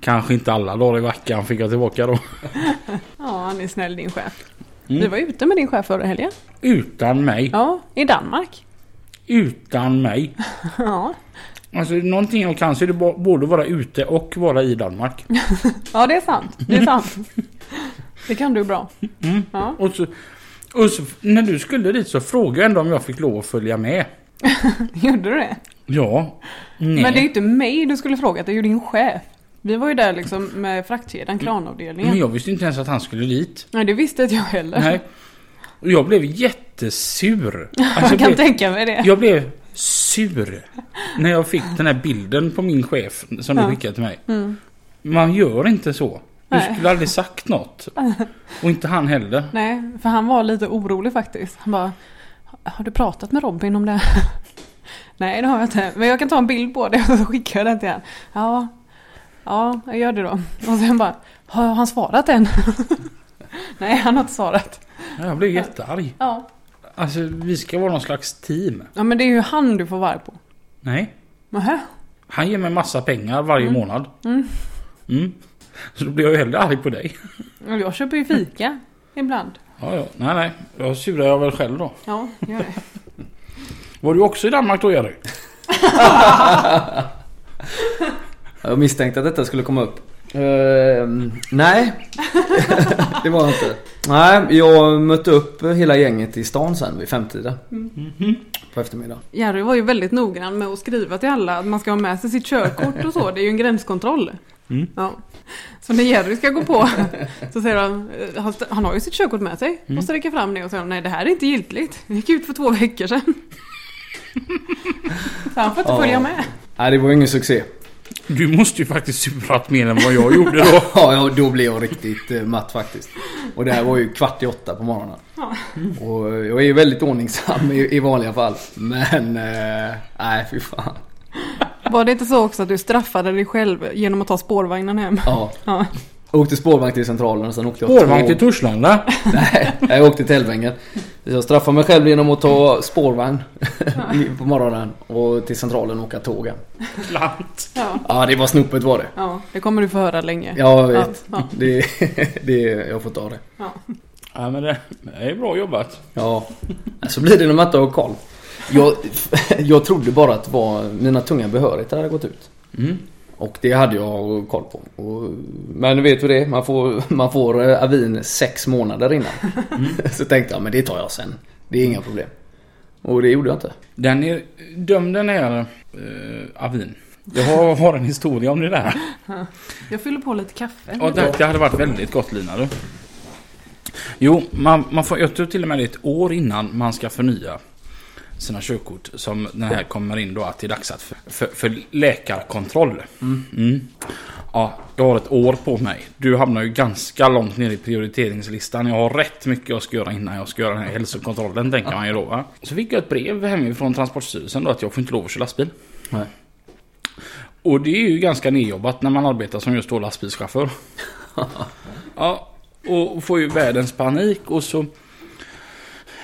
Speaker 1: Kanske inte alla dagar i veckan fick jag tillbaka då.
Speaker 2: Ja, han är snäll din chef.
Speaker 1: Mm.
Speaker 2: Vi var ute med din chef förra helgen.
Speaker 1: Utan mig.
Speaker 2: Ja, i Danmark.
Speaker 1: Utan mig.
Speaker 2: Ja,
Speaker 1: Alltså någonting jag kan så är det bo- både vara ute och vara i Danmark.
Speaker 2: ja det är sant. Det är sant. Det kan du bra.
Speaker 1: Mm.
Speaker 2: Ja.
Speaker 1: Och så, och så när du skulle dit så frågade jag ändå om jag fick lov att följa med.
Speaker 2: Gjorde du det?
Speaker 1: Ja. Nej.
Speaker 2: Men det är ju inte mig du skulle fråga, det är ju din chef. Vi var ju där liksom med
Speaker 1: Mm.
Speaker 2: fraktkedjan, kranavdelningen.
Speaker 1: Men jag visste inte ens att han skulle dit.
Speaker 2: Nej, det visste inte jag heller.
Speaker 1: Nej. Och jag blev jättesur.
Speaker 2: *laughs*
Speaker 1: Alltså,
Speaker 2: jag kan
Speaker 1: blev,
Speaker 2: tänka mig det.
Speaker 1: jag blev sur när jag fick den här bilden på min chef som
Speaker 2: Ja. Mm.
Speaker 1: du skickade till mig. Man gör inte så. Du
Speaker 2: Nej.
Speaker 1: skulle aldrig
Speaker 2: *laughs*
Speaker 1: sagt något. Och inte han heller.
Speaker 2: Nej, för han var lite orolig faktiskt. Han bara, har du pratat med Robin om det här? *laughs* Nej, det har jag inte. Men jag kan ta en bild på det och så skickar jag den till honom. Ja, ja, jag gör det då. Och sen bara, har han svarat än? *laughs* Nej, han har inte svarat.
Speaker 1: Jag blev jättearg.
Speaker 2: Ja.
Speaker 1: Alltså vi ska vara någon slags team.
Speaker 2: ja, men det är ju han du får varg på.
Speaker 1: Nej.
Speaker 2: Nähä?
Speaker 1: Han ger mig massa pengar varje månad. Mm. Så då blir jag ju hellre arg på dig.
Speaker 2: Och Jag köper ju fika ibland.
Speaker 1: Ja, ja. Nej, nej. Då surar jag väl själv då.
Speaker 2: Ja, gör det.
Speaker 1: Var du också i Danmark då Jerry?
Speaker 4: *laughs* Jag misstänkte att detta skulle komma upp. Ehm, nej, *laughs* det var jag inte. Nej, jag mötte upp hela gänget i stan sen vid femtiden. På eftermiddagen.
Speaker 2: Jerry var ju väldigt noggrann med att skriva till alla att man ska ha med sig sitt körkort och så. Det är ju en gränskontroll.
Speaker 1: Mm.
Speaker 2: Ja. Så när Jerry ska gå på så säger han, eh, han, st- han har ju sitt körkort med sig
Speaker 4: Mm.
Speaker 2: och sträcker fram det och säger nej det här är inte giltigt. Det gick ut för två veckor sedan. Så han får inte
Speaker 4: Ja.
Speaker 2: följa med.
Speaker 4: Nej, Äh, det var ju ingen succé.
Speaker 1: Du måste ju faktiskt surat mer än vad jag gjorde
Speaker 4: *laughs*
Speaker 1: då.
Speaker 4: Ja, ja, då blev jag riktigt eh, matt faktiskt. Och det här var ju kvart i åtta på morgonen.
Speaker 2: Ja.
Speaker 4: Och eh, jag är ju väldigt ordningsam i, i vanliga fall. Men, eh, nej fy fan.
Speaker 2: Var det inte så också att du straffade dig själv genom att ta spårvagnen hem?
Speaker 4: Ja,
Speaker 2: Ja.
Speaker 4: jag åkte spårvagn till centralen och sen åkte jag
Speaker 1: Spårvagn
Speaker 4: tåg.
Speaker 1: till Torslanda.
Speaker 4: Nej, jag åkte till Älvängen. Så Jag straffade mig själv genom att ta spårvagn i- *laughs* på morgonen och till centralen och åka tågen.
Speaker 1: Lant.
Speaker 2: Ja.
Speaker 4: Ja, det var snopet var det.
Speaker 2: ja, det kommer du få höra länge.
Speaker 4: Ja, jag vet.
Speaker 2: Ja,
Speaker 4: Det, *laughs* det, jag får ta det.
Speaker 2: ja.
Speaker 1: Ja men det, det är bra jobbat.
Speaker 4: Ja, så blir det när man inte har koll. Jag, *laughs* jag trodde bara att det var mina tunga behörigheter hade gått ut.
Speaker 1: Mm.
Speaker 4: Och det hade jag koll på. Och, men vet du det? Man får, man får eh, avin sex månader innan. *laughs* Så tänkte jag, men det tar jag sen. Det är inga problem. Och det gjorde jag inte.
Speaker 1: Den är dömd den här eh, avin. Jag har, har en historia om det där.
Speaker 2: Jag fyller på lite kaffe.
Speaker 1: Ja, det, det hade varit väldigt gott Lina du. Jo, man, man får, jag tror till och med det är ett år innan man ska förnya sina körkort som den här kommer in då att det är dags att för, för, för läkarkontroll. Mm. Ja, jag har ett år på mig. Du hamnar ju ganska långt ner i prioriteringslistan. Jag har rätt mycket jag ska göra innan jag ska göra den här hälsokontrollen tänker man ju då. Va? Så fick jag ett brev hemifrån Transportstyrelsen då att jag får inte lov att köra lastbil.
Speaker 4: Nej.
Speaker 1: Och det är ju ganska nedjobbat när man arbetar som just då lastbilschaufför. ja, och får ju världens panik och så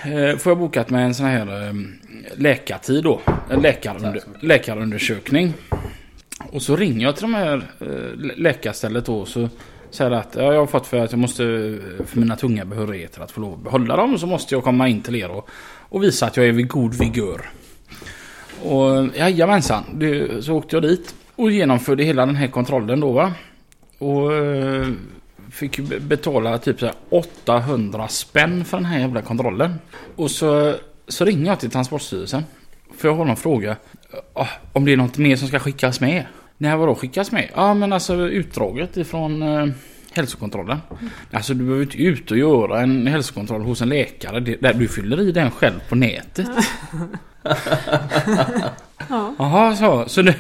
Speaker 1: eh, får jag bokat med en sån här eh, läkartid då. En läkarunder, läkarundersökning. Och så ringer jag till de här eh, lä- läkarstället då och så säger jag att ja, jag har fått för att jag måste eh, för mina tunga behörigheter att få lov att behålla dem så måste jag komma in till er och, och visa att jag är vid god vigör. Och jajamensan, det, så åkte jag dit och genomförde hela den här kontrollen då va. Och eh, fick ju be- betala typ så här 800 spänn för den här jävla kontrollen. Och så, så ringer jag till Transportstyrelsen. För jag har någon fråga. ah, Om det är något mer som ska skickas med? Nej vadå skickas med? Ja men alltså utdraget ifrån eh, hälsokontrollen. Alltså du behöver inte ut och göra en hälsokontroll hos en läkare. Det, där du fyller i den själv på nätet.
Speaker 2: Ja.
Speaker 1: Jaha, så. så det,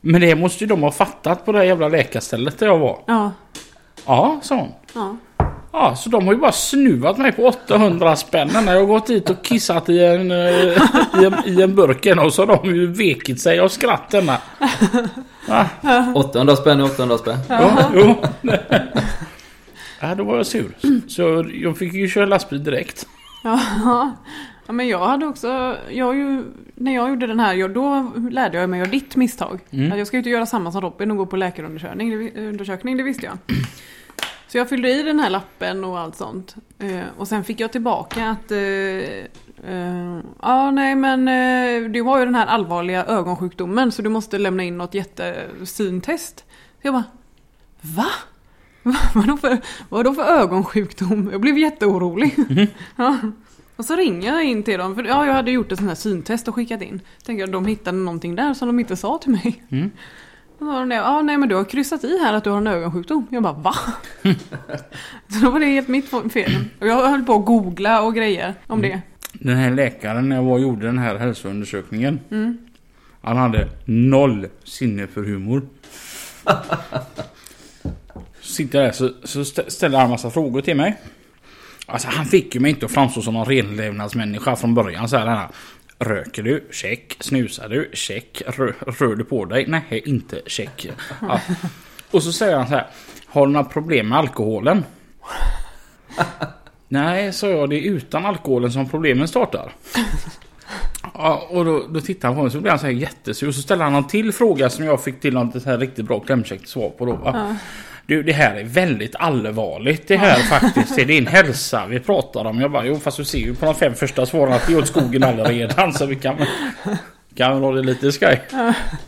Speaker 1: men det måste ju de ha fattat på det här jävla läkarstället där jag var.
Speaker 2: Ja.
Speaker 1: Ja, sa hon.
Speaker 2: Ja.
Speaker 1: Ja, så de har ju bara snuvat mig på 800 spänn när jag har gått dit och kissat i en, eh, i en, i en burken och så har de ju vekit sig av skratt hemma. Va?
Speaker 4: 800 spänn är 800 spänn.
Speaker 1: Ja, jo. *laughs* Ja, då var jag sur. Så jag fick ju köra lastbil direkt.
Speaker 2: *laughs* Ja, Ja, men jag hade också, jag ju, när jag gjorde den här, jag, då lärde jag mig av ditt misstag.
Speaker 1: Mm.
Speaker 2: Att jag ska ju inte göra samma som Robin och gå på läkarundersökning, det, vi- undersökning, det visste jag. *clears throat* Så jag fyllde i den här lappen och allt sånt. Eh, och sen fick jag tillbaka att... Eh, eh, ja, nej men eh, du har ju den här allvarliga ögonsjukdomen så du måste lämna in något jättesyntest. Så jag bara, va? *laughs* Vadå för, vadå för ögonsjukdom? Jag blev jätteorolig. *laughs* ja. Och så ringer jag in till dem, för ja, jag hade gjort ett sånt här syntest och skickat in. Tänkte jag, de hittade någonting där som de inte sa till mig.
Speaker 1: Mm.
Speaker 2: Då var de där, ja nej men du har kryssat i här att du har en ögonsjukdom. Jag bara
Speaker 1: *laughs*
Speaker 2: va? så då var det helt mitt fel. Och jag höll på att googla och grejer om
Speaker 1: Mm.
Speaker 2: det.
Speaker 1: Den här läkaren när jag var och gjorde den här hälsoundersökningen. Han hade noll sinne för humor. Sitter där så, så stä- ställer han massa frågor till mig. Alltså han fick ju mig inte att framstå som någon renlevnadsmänniska från början. Så här, den här, Röker du? Check. Snusar du? Check. Rör, rör du på dig? Nej, inte check. Ja. Och så säger han så här. Har du några problem med alkoholen? Nej, sa jag. Det är utan alkoholen som problemen startar. Ja, och då, då tittar han på mig så blir han så här jättesur. Så ställer han en till fråga som jag fick till något så här riktigt bra klämkäckt svar på då. Va? Du, det här är väldigt allvarligt det här faktiskt. Det är din hälsa vi pratar om. Jag bara, jo fast du ser ju på de fem första svaren att det är åt skogen allaredan. Så vi kan väl... Kan väl ha det lite skoj.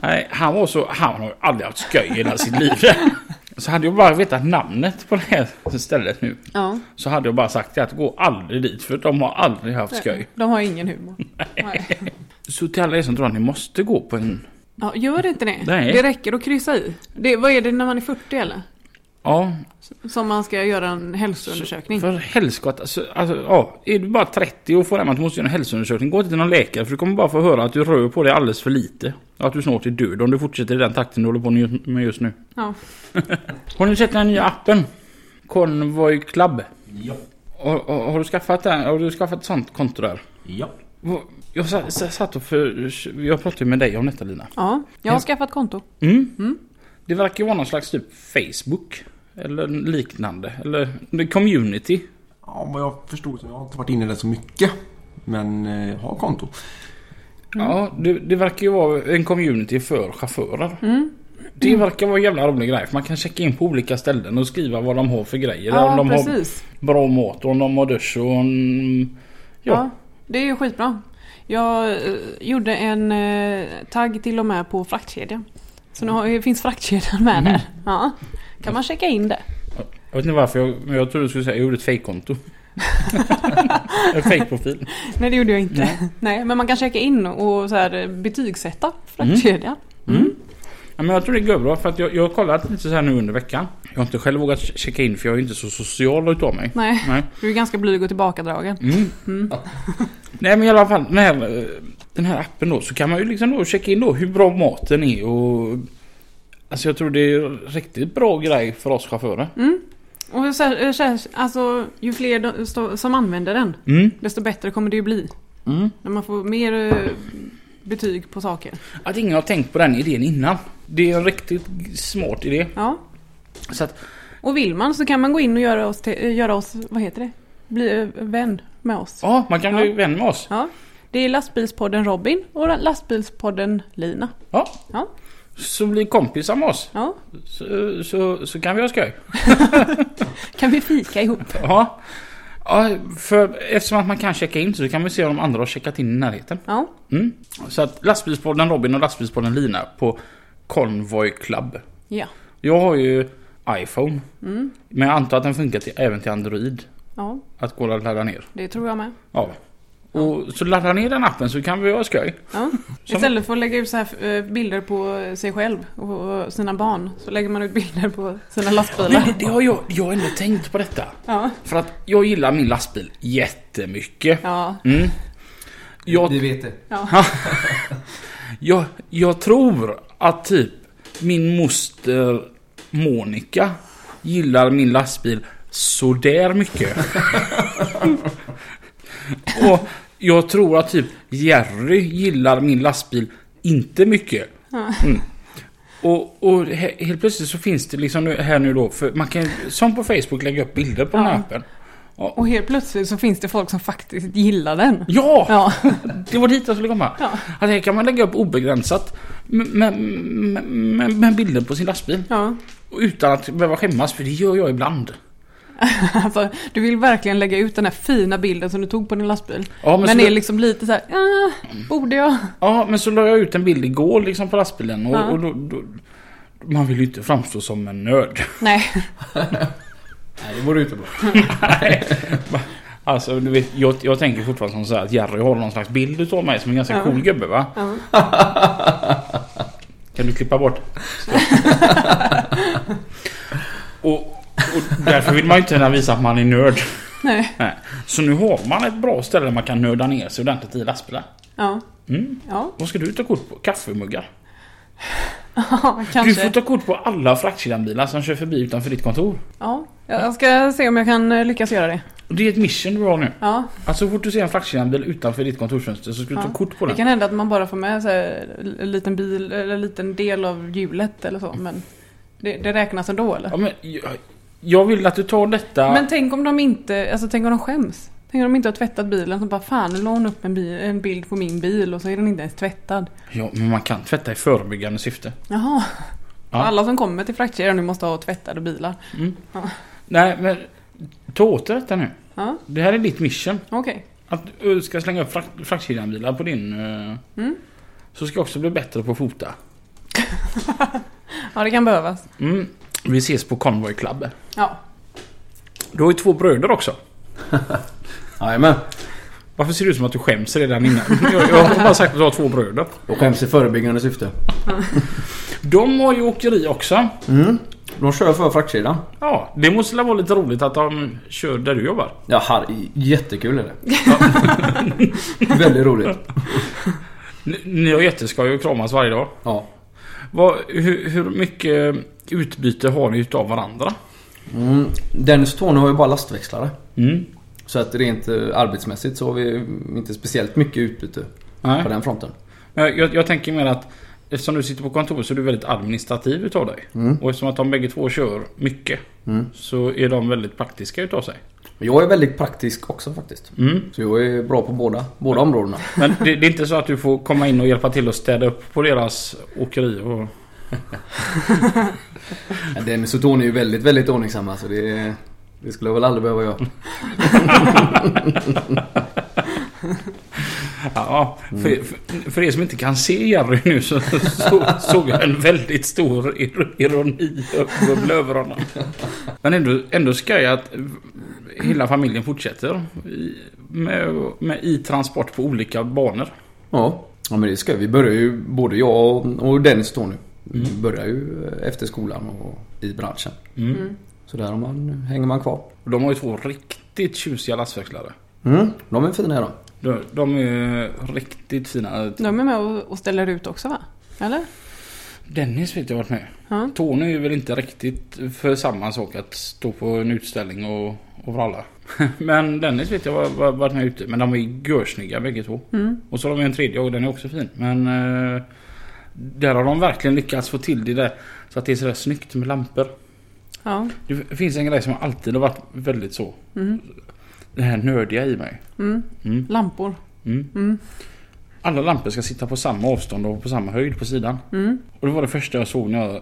Speaker 1: Nej, han var så... Han har ju aldrig haft skoj i hela sitt liv. Så hade jag bara vetat namnet på det här stället nu.
Speaker 2: Ja.
Speaker 1: Så hade jag bara sagt det att gå aldrig dit för de har aldrig haft skoj.
Speaker 2: De har ingen humor. Nej.
Speaker 1: Så till alla er som tror att ni måste gå på en...
Speaker 2: Ja, gör inte det.
Speaker 1: Nej.
Speaker 2: Det räcker att kryssa i. Det, vad är det när man är 40 eller?
Speaker 1: Ja,
Speaker 2: Som man ska göra en hälsoundersökning.
Speaker 1: för helskotta. Alltså, alltså, ja, är du bara 30 och får hem att du måste göra en hälsoundersökning, gå inte till någon läkare för du kommer bara få höra att du rör på dig alldeles för lite. Och att du snart är död om du fortsätter i den takten du håller på nu- med just nu.
Speaker 2: Ja.
Speaker 1: Har ni sett den nya appen? Convoy Club.
Speaker 5: Ja.
Speaker 1: Har, har, har du skaffat den? Har du skaffat ett sånt konto där?
Speaker 5: Ja.
Speaker 1: Vad- Jag sa- sa- satt och för... Jag pratade ju med dig om detta Lina.
Speaker 2: ja, jag har skaffat konto.
Speaker 1: Mm. Det verkar ju vara någon slags typ Facebook. Eller liknande. Eller det är community.
Speaker 3: Ja, vad jag förstod så jag har inte varit inne där så mycket. Men eh, jag har konto.
Speaker 2: Mm.
Speaker 1: Ja, det, det verkar ju vara en community för chaufförer.
Speaker 2: Mm.
Speaker 1: Det verkar vara en jävla rolig grej. För man kan checka in på olika ställen och skriva vad de har för grejer. om
Speaker 2: Ja,
Speaker 1: de har
Speaker 2: precis.
Speaker 1: bra mat, om de har dusch och om... Ja.
Speaker 2: Ja, det är ju skitbra. Jag eh, gjorde en eh, tagg till och med på fraktkedjan. Så nu har, finns fraktkedjan
Speaker 1: Mm.
Speaker 2: med där. Ja. Kan man checka in det?
Speaker 1: Jag vet inte varför jag, men jag trodde du skulle säga jag gjorde
Speaker 2: *laughs*
Speaker 1: ett fejkkonto. en fejkprofil.
Speaker 2: Nej det gjorde jag inte. *laughs* Nej, men man kan checka in och så här, eh, betygsätta fraktkedjan.
Speaker 1: Mm. Ja, men jag tror det går bra för att jag, jag har kollat lite så här nu under veckan. Jag har inte själv vågat checka in för jag är ju inte så social utav mig.
Speaker 2: Nej,
Speaker 1: Nej.
Speaker 2: du är ganska blyg och tillbakadragen.
Speaker 1: Mm. Nej men i alla fall den här, eh, den här appen då så kan man ju liksom då checka in då hur bra maten är och Alltså jag tror det är en riktigt bra grej för oss chaufförer.
Speaker 2: Mm. Och så här, eh, så här, alltså, ju fler de, stå, som använder den,
Speaker 1: Mm.
Speaker 2: desto bättre kommer det ju bli.
Speaker 1: Mm.
Speaker 2: När man får mer eh, betyg på saker.
Speaker 1: Att ingen har tänkt på den idén innan. Det är en riktigt smart idé.
Speaker 2: Ja.
Speaker 1: Så att,
Speaker 2: Och vill man så kan man gå in och göra oss, till, eh, göra oss vad heter det? Bli eh, vän med oss.
Speaker 1: ja, man kan bli vän med oss.
Speaker 2: Ja. Det är lastbilspodden Robin och lastbilspodden Lina.
Speaker 1: Ja.
Speaker 2: Ja.
Speaker 1: Så bli kompisar med oss.
Speaker 2: Ja.
Speaker 1: Så, så, så kan vi ha skoj.
Speaker 2: Kan vi fika ihop?
Speaker 1: Ja. ja, för eftersom att man kan checka in så kan vi se om de andra har checkat in i närheten.
Speaker 2: Ja.
Speaker 1: Mm. Så att lastbilspodden Robin och lastbilspodden Lina på Convoy Club.
Speaker 2: Ja.
Speaker 1: Jag har ju iPhone. Men jag antar att den funkar till, även till Android.
Speaker 2: Ja,
Speaker 1: Att gå och ladda ner.
Speaker 2: det tror jag med.
Speaker 1: Ja. Och så ladda ner den appen så kan vi ha skoj.
Speaker 2: Ja. Istället för att lägga ut så här eh, bilder på sig själv och sina barn så lägger man ut bilder på sina
Speaker 1: Det, *laughs*
Speaker 2: lastbilar.
Speaker 1: det har jag, jag har ändå tänkt på detta.
Speaker 2: Ja.
Speaker 1: För att jag gillar min lastbil jättemycket.
Speaker 2: Ja.
Speaker 1: Mm. Jag
Speaker 4: Vi vet det.
Speaker 1: Jag, jag tror att typ min moster Monica gillar min lastbil sådär mycket. Och jag tror att typ Jerry gillar min lastbil inte mycket. Mm. Och, och he- helt plötsligt så finns det liksom nu, här nu då, för man kan som på Facebook lägga upp bilder på den här
Speaker 2: Ja.
Speaker 1: appen.
Speaker 2: Och helt plötsligt så finns det folk som faktiskt gillar den.
Speaker 1: Ja!
Speaker 2: Ja,
Speaker 1: Det var dit jag skulle komma.
Speaker 2: Ja.
Speaker 1: Att här kan man lägga upp obegränsat med, med, med, med- med bilder på sin lastbil.
Speaker 2: ja.
Speaker 1: Och Utan att behöva skämmas, för det gör jag ibland.
Speaker 2: Alltså, du vill verkligen lägga ut den här fina bilden som du tog på din lastbil.
Speaker 1: Ja,
Speaker 2: men
Speaker 1: men så
Speaker 2: är
Speaker 1: det-
Speaker 2: liksom lite så här, "Ah, borde jag?
Speaker 1: Ja, men så la jag ut en bild igår liksom på lastbilen och,
Speaker 2: Ja.
Speaker 1: och då, då... Man vill ju inte framstå som en nörd.
Speaker 2: Nej,
Speaker 4: Nej, det vore ju inte bra.
Speaker 1: Alltså du vet, jag, jag tänker fortfarande som så här att Jerry har någon slags bild utav mig som en ganska
Speaker 2: Ja.
Speaker 1: cool gubbe va?
Speaker 2: Ja.
Speaker 1: Kan du klippa bort?
Speaker 2: *laughs*
Speaker 1: och, och därför vill man ju inte gärna visa att man är nörd.
Speaker 2: nej,
Speaker 1: Nej. Så nu har man ett bra ställe där man kan nörda ner sig ordentligt i lastbilar.
Speaker 2: ja,
Speaker 1: Mm.
Speaker 2: ja,
Speaker 1: Vad ska du ta kort på? Kaffemuggar? Du
Speaker 2: kanske.
Speaker 1: får ta kort på alla fraktkedjanbilar som kör förbi utanför ditt kontor.
Speaker 2: Ja, jag ska se om jag kan eh, lyckas göra det.
Speaker 1: Och det är ett mission du har nu.
Speaker 2: Ja,
Speaker 1: Att så fort du ser en fraktkedjanbil utanför ditt kontorsfönster så ska du
Speaker 2: Ja.
Speaker 1: ta kort på
Speaker 2: det
Speaker 1: den.
Speaker 2: kan hända att man bara får med sig en liten bil, eller en liten del av hjulet eller så, men det, det räknas ändå eller?
Speaker 1: Ja, men, jag, jag vill att du tar detta...
Speaker 2: Men tänk om de inte, alltså tänk om de skäms? Tänk om de inte har tvättat bilen så bara fan nu la hon upp en, bi- en bild på min bil och så är den inte ens tvättad.
Speaker 1: Ja, men man kan tvätta i förebyggande syfte.
Speaker 2: Jaha.
Speaker 1: Ja. Mm.
Speaker 2: Alla som kommer till fraktkedjan nu måste ha tvättade bilar.
Speaker 1: Nej, men ta åt dig detta nu.
Speaker 2: Ja,
Speaker 1: Det här är ditt mission.
Speaker 2: okej.
Speaker 1: Att du ska slänga upp frakt, fraktkedjanbilar på din... eh,
Speaker 2: Mm.
Speaker 1: Så ska jag också bli bättre på att fota.
Speaker 2: Ja, det kan behövas.
Speaker 1: Mm. Vi ses på Convoy Club.
Speaker 2: Ja.
Speaker 1: Du har ju två bröder också.
Speaker 4: Jajamän.
Speaker 1: Varför ser det ut som att du skäms redan innan? Jag, jag har bara sagt att du har två bröder.
Speaker 4: Jag skäms i förebyggande syfte.
Speaker 1: De har ju åkeri också.
Speaker 4: Mm. De kör för fraktkedjan.
Speaker 1: Ja, det måste väl vara lite roligt att de kör där du jobbar.
Speaker 4: Ja, har, jättekul är det. Väldigt roligt.
Speaker 1: Ni, ni har jätteskoj och kramas varje dag.
Speaker 4: Ja.
Speaker 1: Vad, hur, hur mycket utbyte har ni utav varandra?
Speaker 4: Mm. Dennis och Tony har ju bara lastväxlare.
Speaker 1: Mm.
Speaker 4: Så att rent eh, arbetsmässigt så har vi inte speciellt mycket utbyte
Speaker 1: Nej.
Speaker 4: på den fronten.
Speaker 1: Men Jag, jag tänker mer att eftersom du sitter på kontor så är du väldigt administrativ utav dig. Och eftersom att de bägge två kör mycket så är de väldigt praktiska utav sig.
Speaker 4: Men jag är väldigt praktisk också faktiskt.
Speaker 1: Mm.
Speaker 4: Så jag är bra på båda, båda områdena.
Speaker 1: Men det, det är inte så att du får komma in och hjälpa till att städa upp på deras åkeri och...
Speaker 4: Men Dennis och Tony är ju väldigt, väldigt ordningsamma så det, det skulle jag väl aldrig behöva göra.
Speaker 1: Ja, för, för, för er som inte kan se Jerry nu så, så såg jag en väldigt stor ir- ironi bubbla över honom. Men ändå, ändå ska jag att hela familjen fortsätter i, med, med, i transport på olika banor.
Speaker 4: Ja, ja men det ska vi. Vi börjar ju, både jag och, och Dennis och Tony.
Speaker 1: Mm.
Speaker 4: Vi börjar ju eh, efter skolan och i branschen.
Speaker 2: Mm.
Speaker 4: Så där har man, hänger man kvar.
Speaker 1: Och De har ju två riktigt tjusiga lastväxlare.
Speaker 4: Mm. De är fina de.
Speaker 1: De, de är riktigt fina.
Speaker 2: De är med och, och ställer ut också va? Eller?
Speaker 1: Dennis vet jag varit med.
Speaker 2: Ja.
Speaker 1: Tony är väl inte riktigt för samma sak att stå på en utställning och, och vralla. *laughs* Men Dennis vet jag var- var- varit med ute. Men de är görsnygga bägge två.
Speaker 2: Mm.
Speaker 1: Och så har de en tredje och den är också fin. Men eh, där har de verkligen lyckats få till det där. Så att det är sådär snyggt med lampor.
Speaker 2: Ja.
Speaker 1: Det finns en grej som alltid har varit väldigt så.
Speaker 2: Mm.
Speaker 1: Det här nördiga i mig.
Speaker 2: Mm.
Speaker 1: Mm.
Speaker 2: Lampor.
Speaker 1: Mm.
Speaker 2: Mm.
Speaker 1: Alla lampor ska sitta på samma avstånd och på samma höjd på sidan.
Speaker 2: Mm.
Speaker 1: Och det var det första jag såg när jag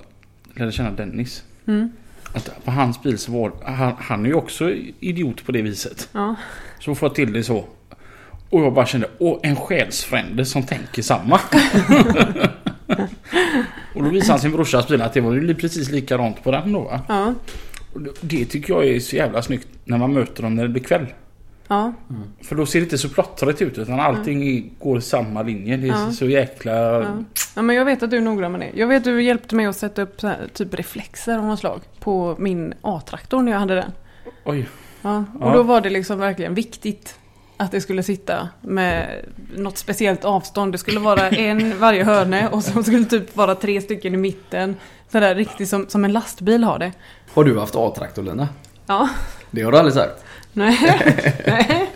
Speaker 1: lärde känna Dennis.
Speaker 2: Mm.
Speaker 1: Att på hans bil så var han, han är ju också idiot på det viset.
Speaker 2: Ja.
Speaker 1: Så får jag till det så. Och jag bara kände, åh en själsfrände som tänker samma. *laughs* och då visade han sin brorsas bil att det var ju precis likadant på den då va.
Speaker 2: Ja.
Speaker 1: Och det- Det tycker jag är så jävla snyggt när man möter dem när det blir kväll.
Speaker 2: Ja.
Speaker 1: För då ser det inte så plottrigt ut utan allting i- går i samma linje. Det är
Speaker 2: Mm. Ja.
Speaker 1: så jäkla...
Speaker 2: Ja. ja, men jag vet att du är noggrann med det. Jag vet att du hjälpte mig att sätta upp så här, typ reflexer av något slag på min A-traktor när jag hade den.
Speaker 1: Oj.
Speaker 2: Ja, och
Speaker 1: Ja.
Speaker 2: då var det liksom verkligen viktigt att det skulle sitta med något speciellt avstånd. Det skulle vara en varje hörne och så skulle det typ vara tre stycken i mitten. Sådär riktigt som, som en lastbil har det.
Speaker 4: Har du haft A-traktor Lina?
Speaker 2: Ja,
Speaker 4: Det har du aldrig sagt.
Speaker 2: *laughs* nej. nej.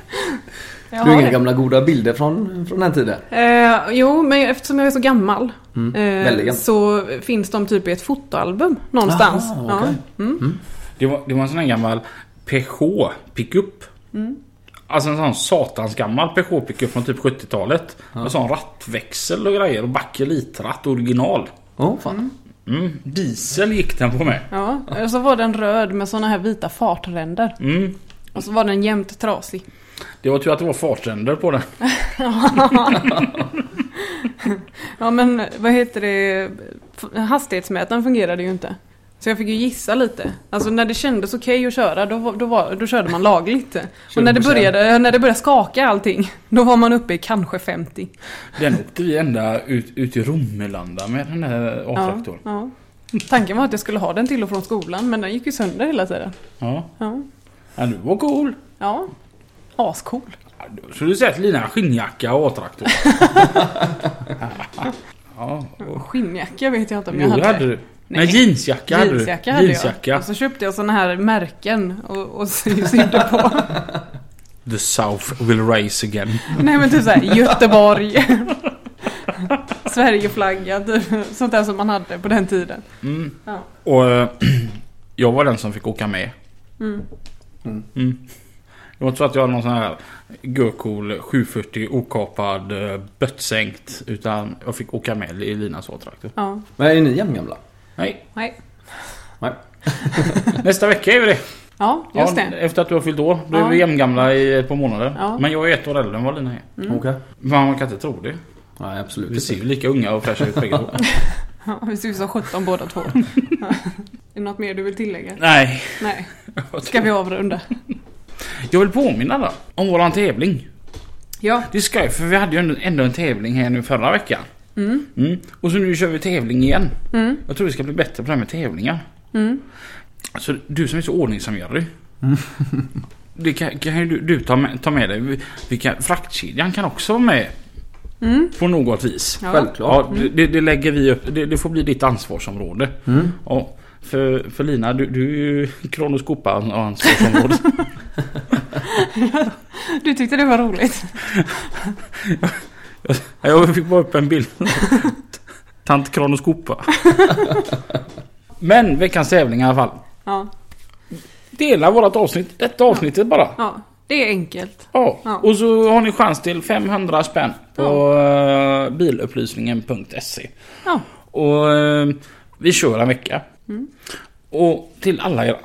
Speaker 2: Jag
Speaker 4: du har
Speaker 2: har
Speaker 4: inga
Speaker 2: det.
Speaker 4: gamla goda bilder från, från den tiden?
Speaker 2: Eh, jo, men eftersom jag är så gammal
Speaker 4: Mm.
Speaker 2: eh,
Speaker 4: Väldigt gamla.
Speaker 2: så finns de typ i ett fotoalbum någonstans.
Speaker 4: Aha, okej.
Speaker 2: ja. Mm.
Speaker 1: Det var, det var en sån här gammal Peugeot pickup.
Speaker 2: Mm.
Speaker 1: Alltså en sån satans gammal Peugeot pickup från typ 70-talet. Med sån rattväxel och grejer och bakelitratt original.
Speaker 4: Ja, fan.
Speaker 1: Mm. Diesel gick den på med.
Speaker 2: Ja, och så var den röd med såna här vita fartränder.
Speaker 1: Mm.
Speaker 2: Och så var den jämt trasig.
Speaker 1: Det var tur att det var
Speaker 2: *laughs*
Speaker 1: fartränder på den.
Speaker 2: Ja men vad heter det? F- Hastighetsmätaren fungerade ju inte. Så jag fick ju gissa lite. Alltså när det kändes okej att köra då, var- då, var, då körde man lagligt. Och när det,
Speaker 1: 20%.
Speaker 2: började, när det började skaka allting, då var man uppe i kanske 50.
Speaker 1: Den åkte vi ända ut, ut till Romelanda med den här A-traktorn. Ja.
Speaker 2: ja. Tanken var att jag skulle ha den till och från skolan men den gick ju sönder hela tiden.
Speaker 1: Ja.
Speaker 2: Ja.
Speaker 1: du var cool.
Speaker 2: ja. Ascool.
Speaker 1: Ja, då skulle du sett Lina skinnjacka och A-traktor. *laughs* ja.
Speaker 2: Skinnjacka vet jag inte om
Speaker 1: Jo,
Speaker 2: jag hade.
Speaker 1: det hade du. Nej,
Speaker 2: Nej.
Speaker 1: jeansjacka hade du.
Speaker 2: Jeansjacka hade jag.
Speaker 1: Jeansjacka.
Speaker 2: Och så köpte jag såna här märken och, och *laughs* sy- sydde på.
Speaker 1: The South will rise again.
Speaker 2: Nej men typ såhär Göteborg. *laughs* Sverigeflagga, typ. sånt där som man hade på den tiden.
Speaker 1: Mm.
Speaker 2: Ja.
Speaker 1: Och eh, *clears throat* jag var den som fick åka med.
Speaker 2: Mm.
Speaker 4: Mm.
Speaker 1: Mm. Det var inte så att jag hade någon sån här görcool 740 okapad eh, böttsänkt. Utan jag fick åka med i Linas A-traktor.
Speaker 2: Ja.
Speaker 4: Men är ni jämngamla?
Speaker 1: Nej,
Speaker 2: Nej.
Speaker 4: Nej.
Speaker 1: *laughs* nästa vecka är vi det.
Speaker 2: Ja, just det.
Speaker 1: Efter att du har fyllt år. Då är
Speaker 2: Ja.
Speaker 1: vi jämngamla i ett par månader.
Speaker 2: Ja.
Speaker 1: Men jag är ett år äldre än vad Lina är.
Speaker 2: Mm.
Speaker 4: Okej.
Speaker 1: Men man kan inte tro det.
Speaker 4: Nej, absolut
Speaker 1: Vi ser ju
Speaker 4: inte.
Speaker 1: lika unga och fräscha ut
Speaker 2: *laughs*
Speaker 1: bägge två.
Speaker 2: Ja, vi ser ut som 17 båda två. Ja. Är det något mer du vill tillägga?
Speaker 1: Nej.
Speaker 2: Nej. Ska vi avrunda?
Speaker 1: Jag vill påminna alla om våran tävling.
Speaker 2: Ja.
Speaker 1: Det ska jag, för vi hade ju ändå- ändå en tävling här nu förra veckan. Mm. Och så nu kör vi tävling igen.
Speaker 2: Mm.
Speaker 1: Jag tror vi ska bli bättre på det här med tävlingar.
Speaker 2: Mm.
Speaker 1: Alltså du som är så ordningsam Jerry. *laughs* Det kan, kan ju du, du ta, med, ta med dig. Vi, vi kan, fraktkedjan kan också vara med.
Speaker 2: Mm.
Speaker 1: På något vis.
Speaker 2: Ja.
Speaker 4: Självklart.
Speaker 1: Ja, det, det lägger vi upp. Det, det får bli ditt ansvarsområde.
Speaker 4: Mm.
Speaker 1: Ja, för, för Lina, du, du är ju *laughs* kronoskopa-ansvarsområdet.
Speaker 2: Du tyckte det var roligt?
Speaker 1: Jag fick bara upp en bild. *laughs* Tant kronoskopa. *laughs* Men veckans tävling i alla fall.
Speaker 2: Ja.
Speaker 1: Dela vårat avsnitt. Detta avsnittet bara.
Speaker 2: ja. Det är enkelt.
Speaker 1: Ja.
Speaker 2: Ja.
Speaker 1: Och så har ni chans till 500 spänn på eh, bilupplysningen.se.
Speaker 2: Ja.
Speaker 1: Och eh, vi kör en vecka.
Speaker 2: Mm.
Speaker 1: Och till alla, er,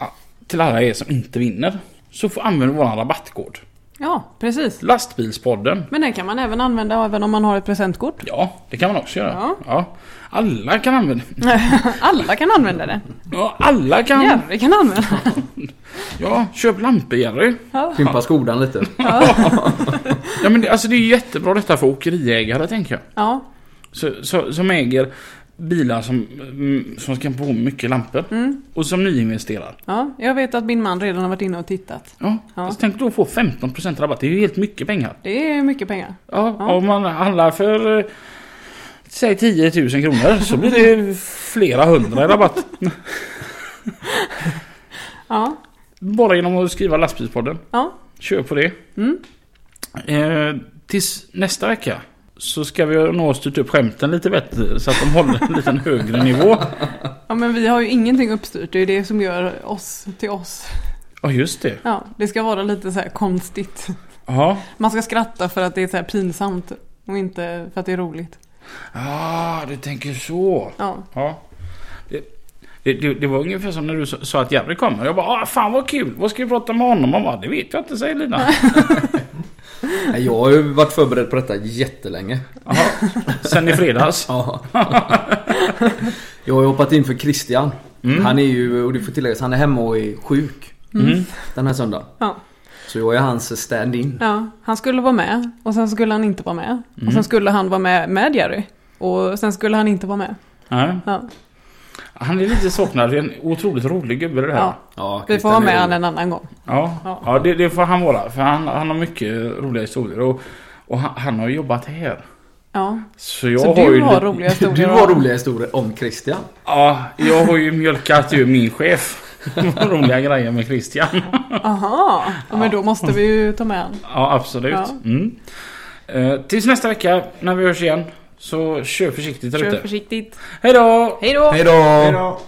Speaker 1: till alla er som inte vinner så får använda våran rabattkod.
Speaker 2: Ja, precis.
Speaker 1: Lastbilspodden.
Speaker 2: Men den kan man även använda även om man har ett presentkort. *laughs*
Speaker 1: Ja, det kan man också göra.
Speaker 2: Ja.
Speaker 1: Alla kan använda
Speaker 2: Alla kan använda den.
Speaker 1: Ja, alla kan.
Speaker 2: Jerry kan använda den.
Speaker 1: Ja, köp lampor Jerry.
Speaker 2: Ja.
Speaker 4: Pimpa skodan
Speaker 2: *laughs*
Speaker 4: lite.
Speaker 1: Ja, men det, alltså, det är ju jättebra detta för åkeriägare tänker jag.
Speaker 2: ja.
Speaker 1: Så, så, som äger bilar som, mm, som ska på mycket lampor.
Speaker 2: Mm.
Speaker 1: Och som nyinvesterar.
Speaker 2: Ja, jag vet att min man redan har varit inne och tittat.
Speaker 1: Ja,
Speaker 2: Ja.
Speaker 1: Alltså, tänk då att få 15% rabatt. Det är ju helt mycket pengar.
Speaker 2: Det är mycket pengar.
Speaker 1: Ja,
Speaker 2: Ja.
Speaker 1: Om man handlar för eh, Säg 10 000 kronor så blir det flera hundra i rabatt.
Speaker 2: Ja,
Speaker 1: Bara genom att skriva lastbilspodden.
Speaker 2: ja,
Speaker 1: Kör på det.
Speaker 2: Mm.
Speaker 1: Eh, tills nästa vecka så ska vi nog ha styrt upp skämten lite bättre så att de håller en liten högre nivå.
Speaker 2: ja. men vi har ju ingenting uppstyrt. Det är det som gör oss till oss.
Speaker 1: Ja, just det.
Speaker 2: Ja, det ska vara lite så här konstigt.
Speaker 1: Ja.
Speaker 2: Man ska skratta för att det är så här pinsamt och inte för att det är roligt.
Speaker 1: Ah, du tänker så.
Speaker 2: Ja,
Speaker 1: Ja. Det, det, det, det var ungefär som när du sa sa att Jerry kommer. Jag bara ah, fan vad kul. Vad ska vi prata med honom om? Det vet jag inte säger Lina.
Speaker 4: Nej, Jag har ju varit förberedd på detta jättelänge.
Speaker 1: Jaha. Sen i fredags.
Speaker 4: Ja. *laughs* Jag har ju hoppat in för Christian. Han är ju, och det får tilläggas, han är hemma och är sjuk.
Speaker 1: Mm.
Speaker 4: Den här söndagen.
Speaker 2: ja,
Speaker 4: Så jag är hans stand-in.
Speaker 2: ja. Han skulle vara med och sen skulle han inte vara med. Och sen skulle han vara med med Jerry. Och sen skulle han inte vara med.
Speaker 1: Ja.
Speaker 2: Ja,
Speaker 1: Han är lite saknad. Det är en otroligt rolig gubbe det här.
Speaker 2: ja.
Speaker 4: Ja,
Speaker 2: Vi får
Speaker 4: Christian
Speaker 2: ha
Speaker 4: är
Speaker 2: med
Speaker 4: ju-
Speaker 2: han en annan gång.
Speaker 1: Ja,
Speaker 2: Ja.
Speaker 1: ja. det, det får han vara. För han, han har mycket roliga historier. Och, och han, han har ju jobbat här.
Speaker 2: Ja,
Speaker 1: Så jag
Speaker 2: så
Speaker 1: har
Speaker 2: du
Speaker 1: ju...
Speaker 2: har roliga historier.
Speaker 4: *laughs* Du har roliga historier om Christian.
Speaker 1: Ja, jag har ju mjölkat ur min chef. *laughs* roliga grejer med Christian.
Speaker 2: Aha, ja, men då måste vi ju ta med han.
Speaker 1: Ja, absolut.
Speaker 2: Ja.
Speaker 1: Mm. Eh, tills nästa vecka när vi hörs igen. Så kör försiktigt där
Speaker 2: Kör
Speaker 1: ute.
Speaker 2: försiktigt.
Speaker 1: Hej då!
Speaker 2: Hej då!
Speaker 4: Hej då!
Speaker 3: Hej då.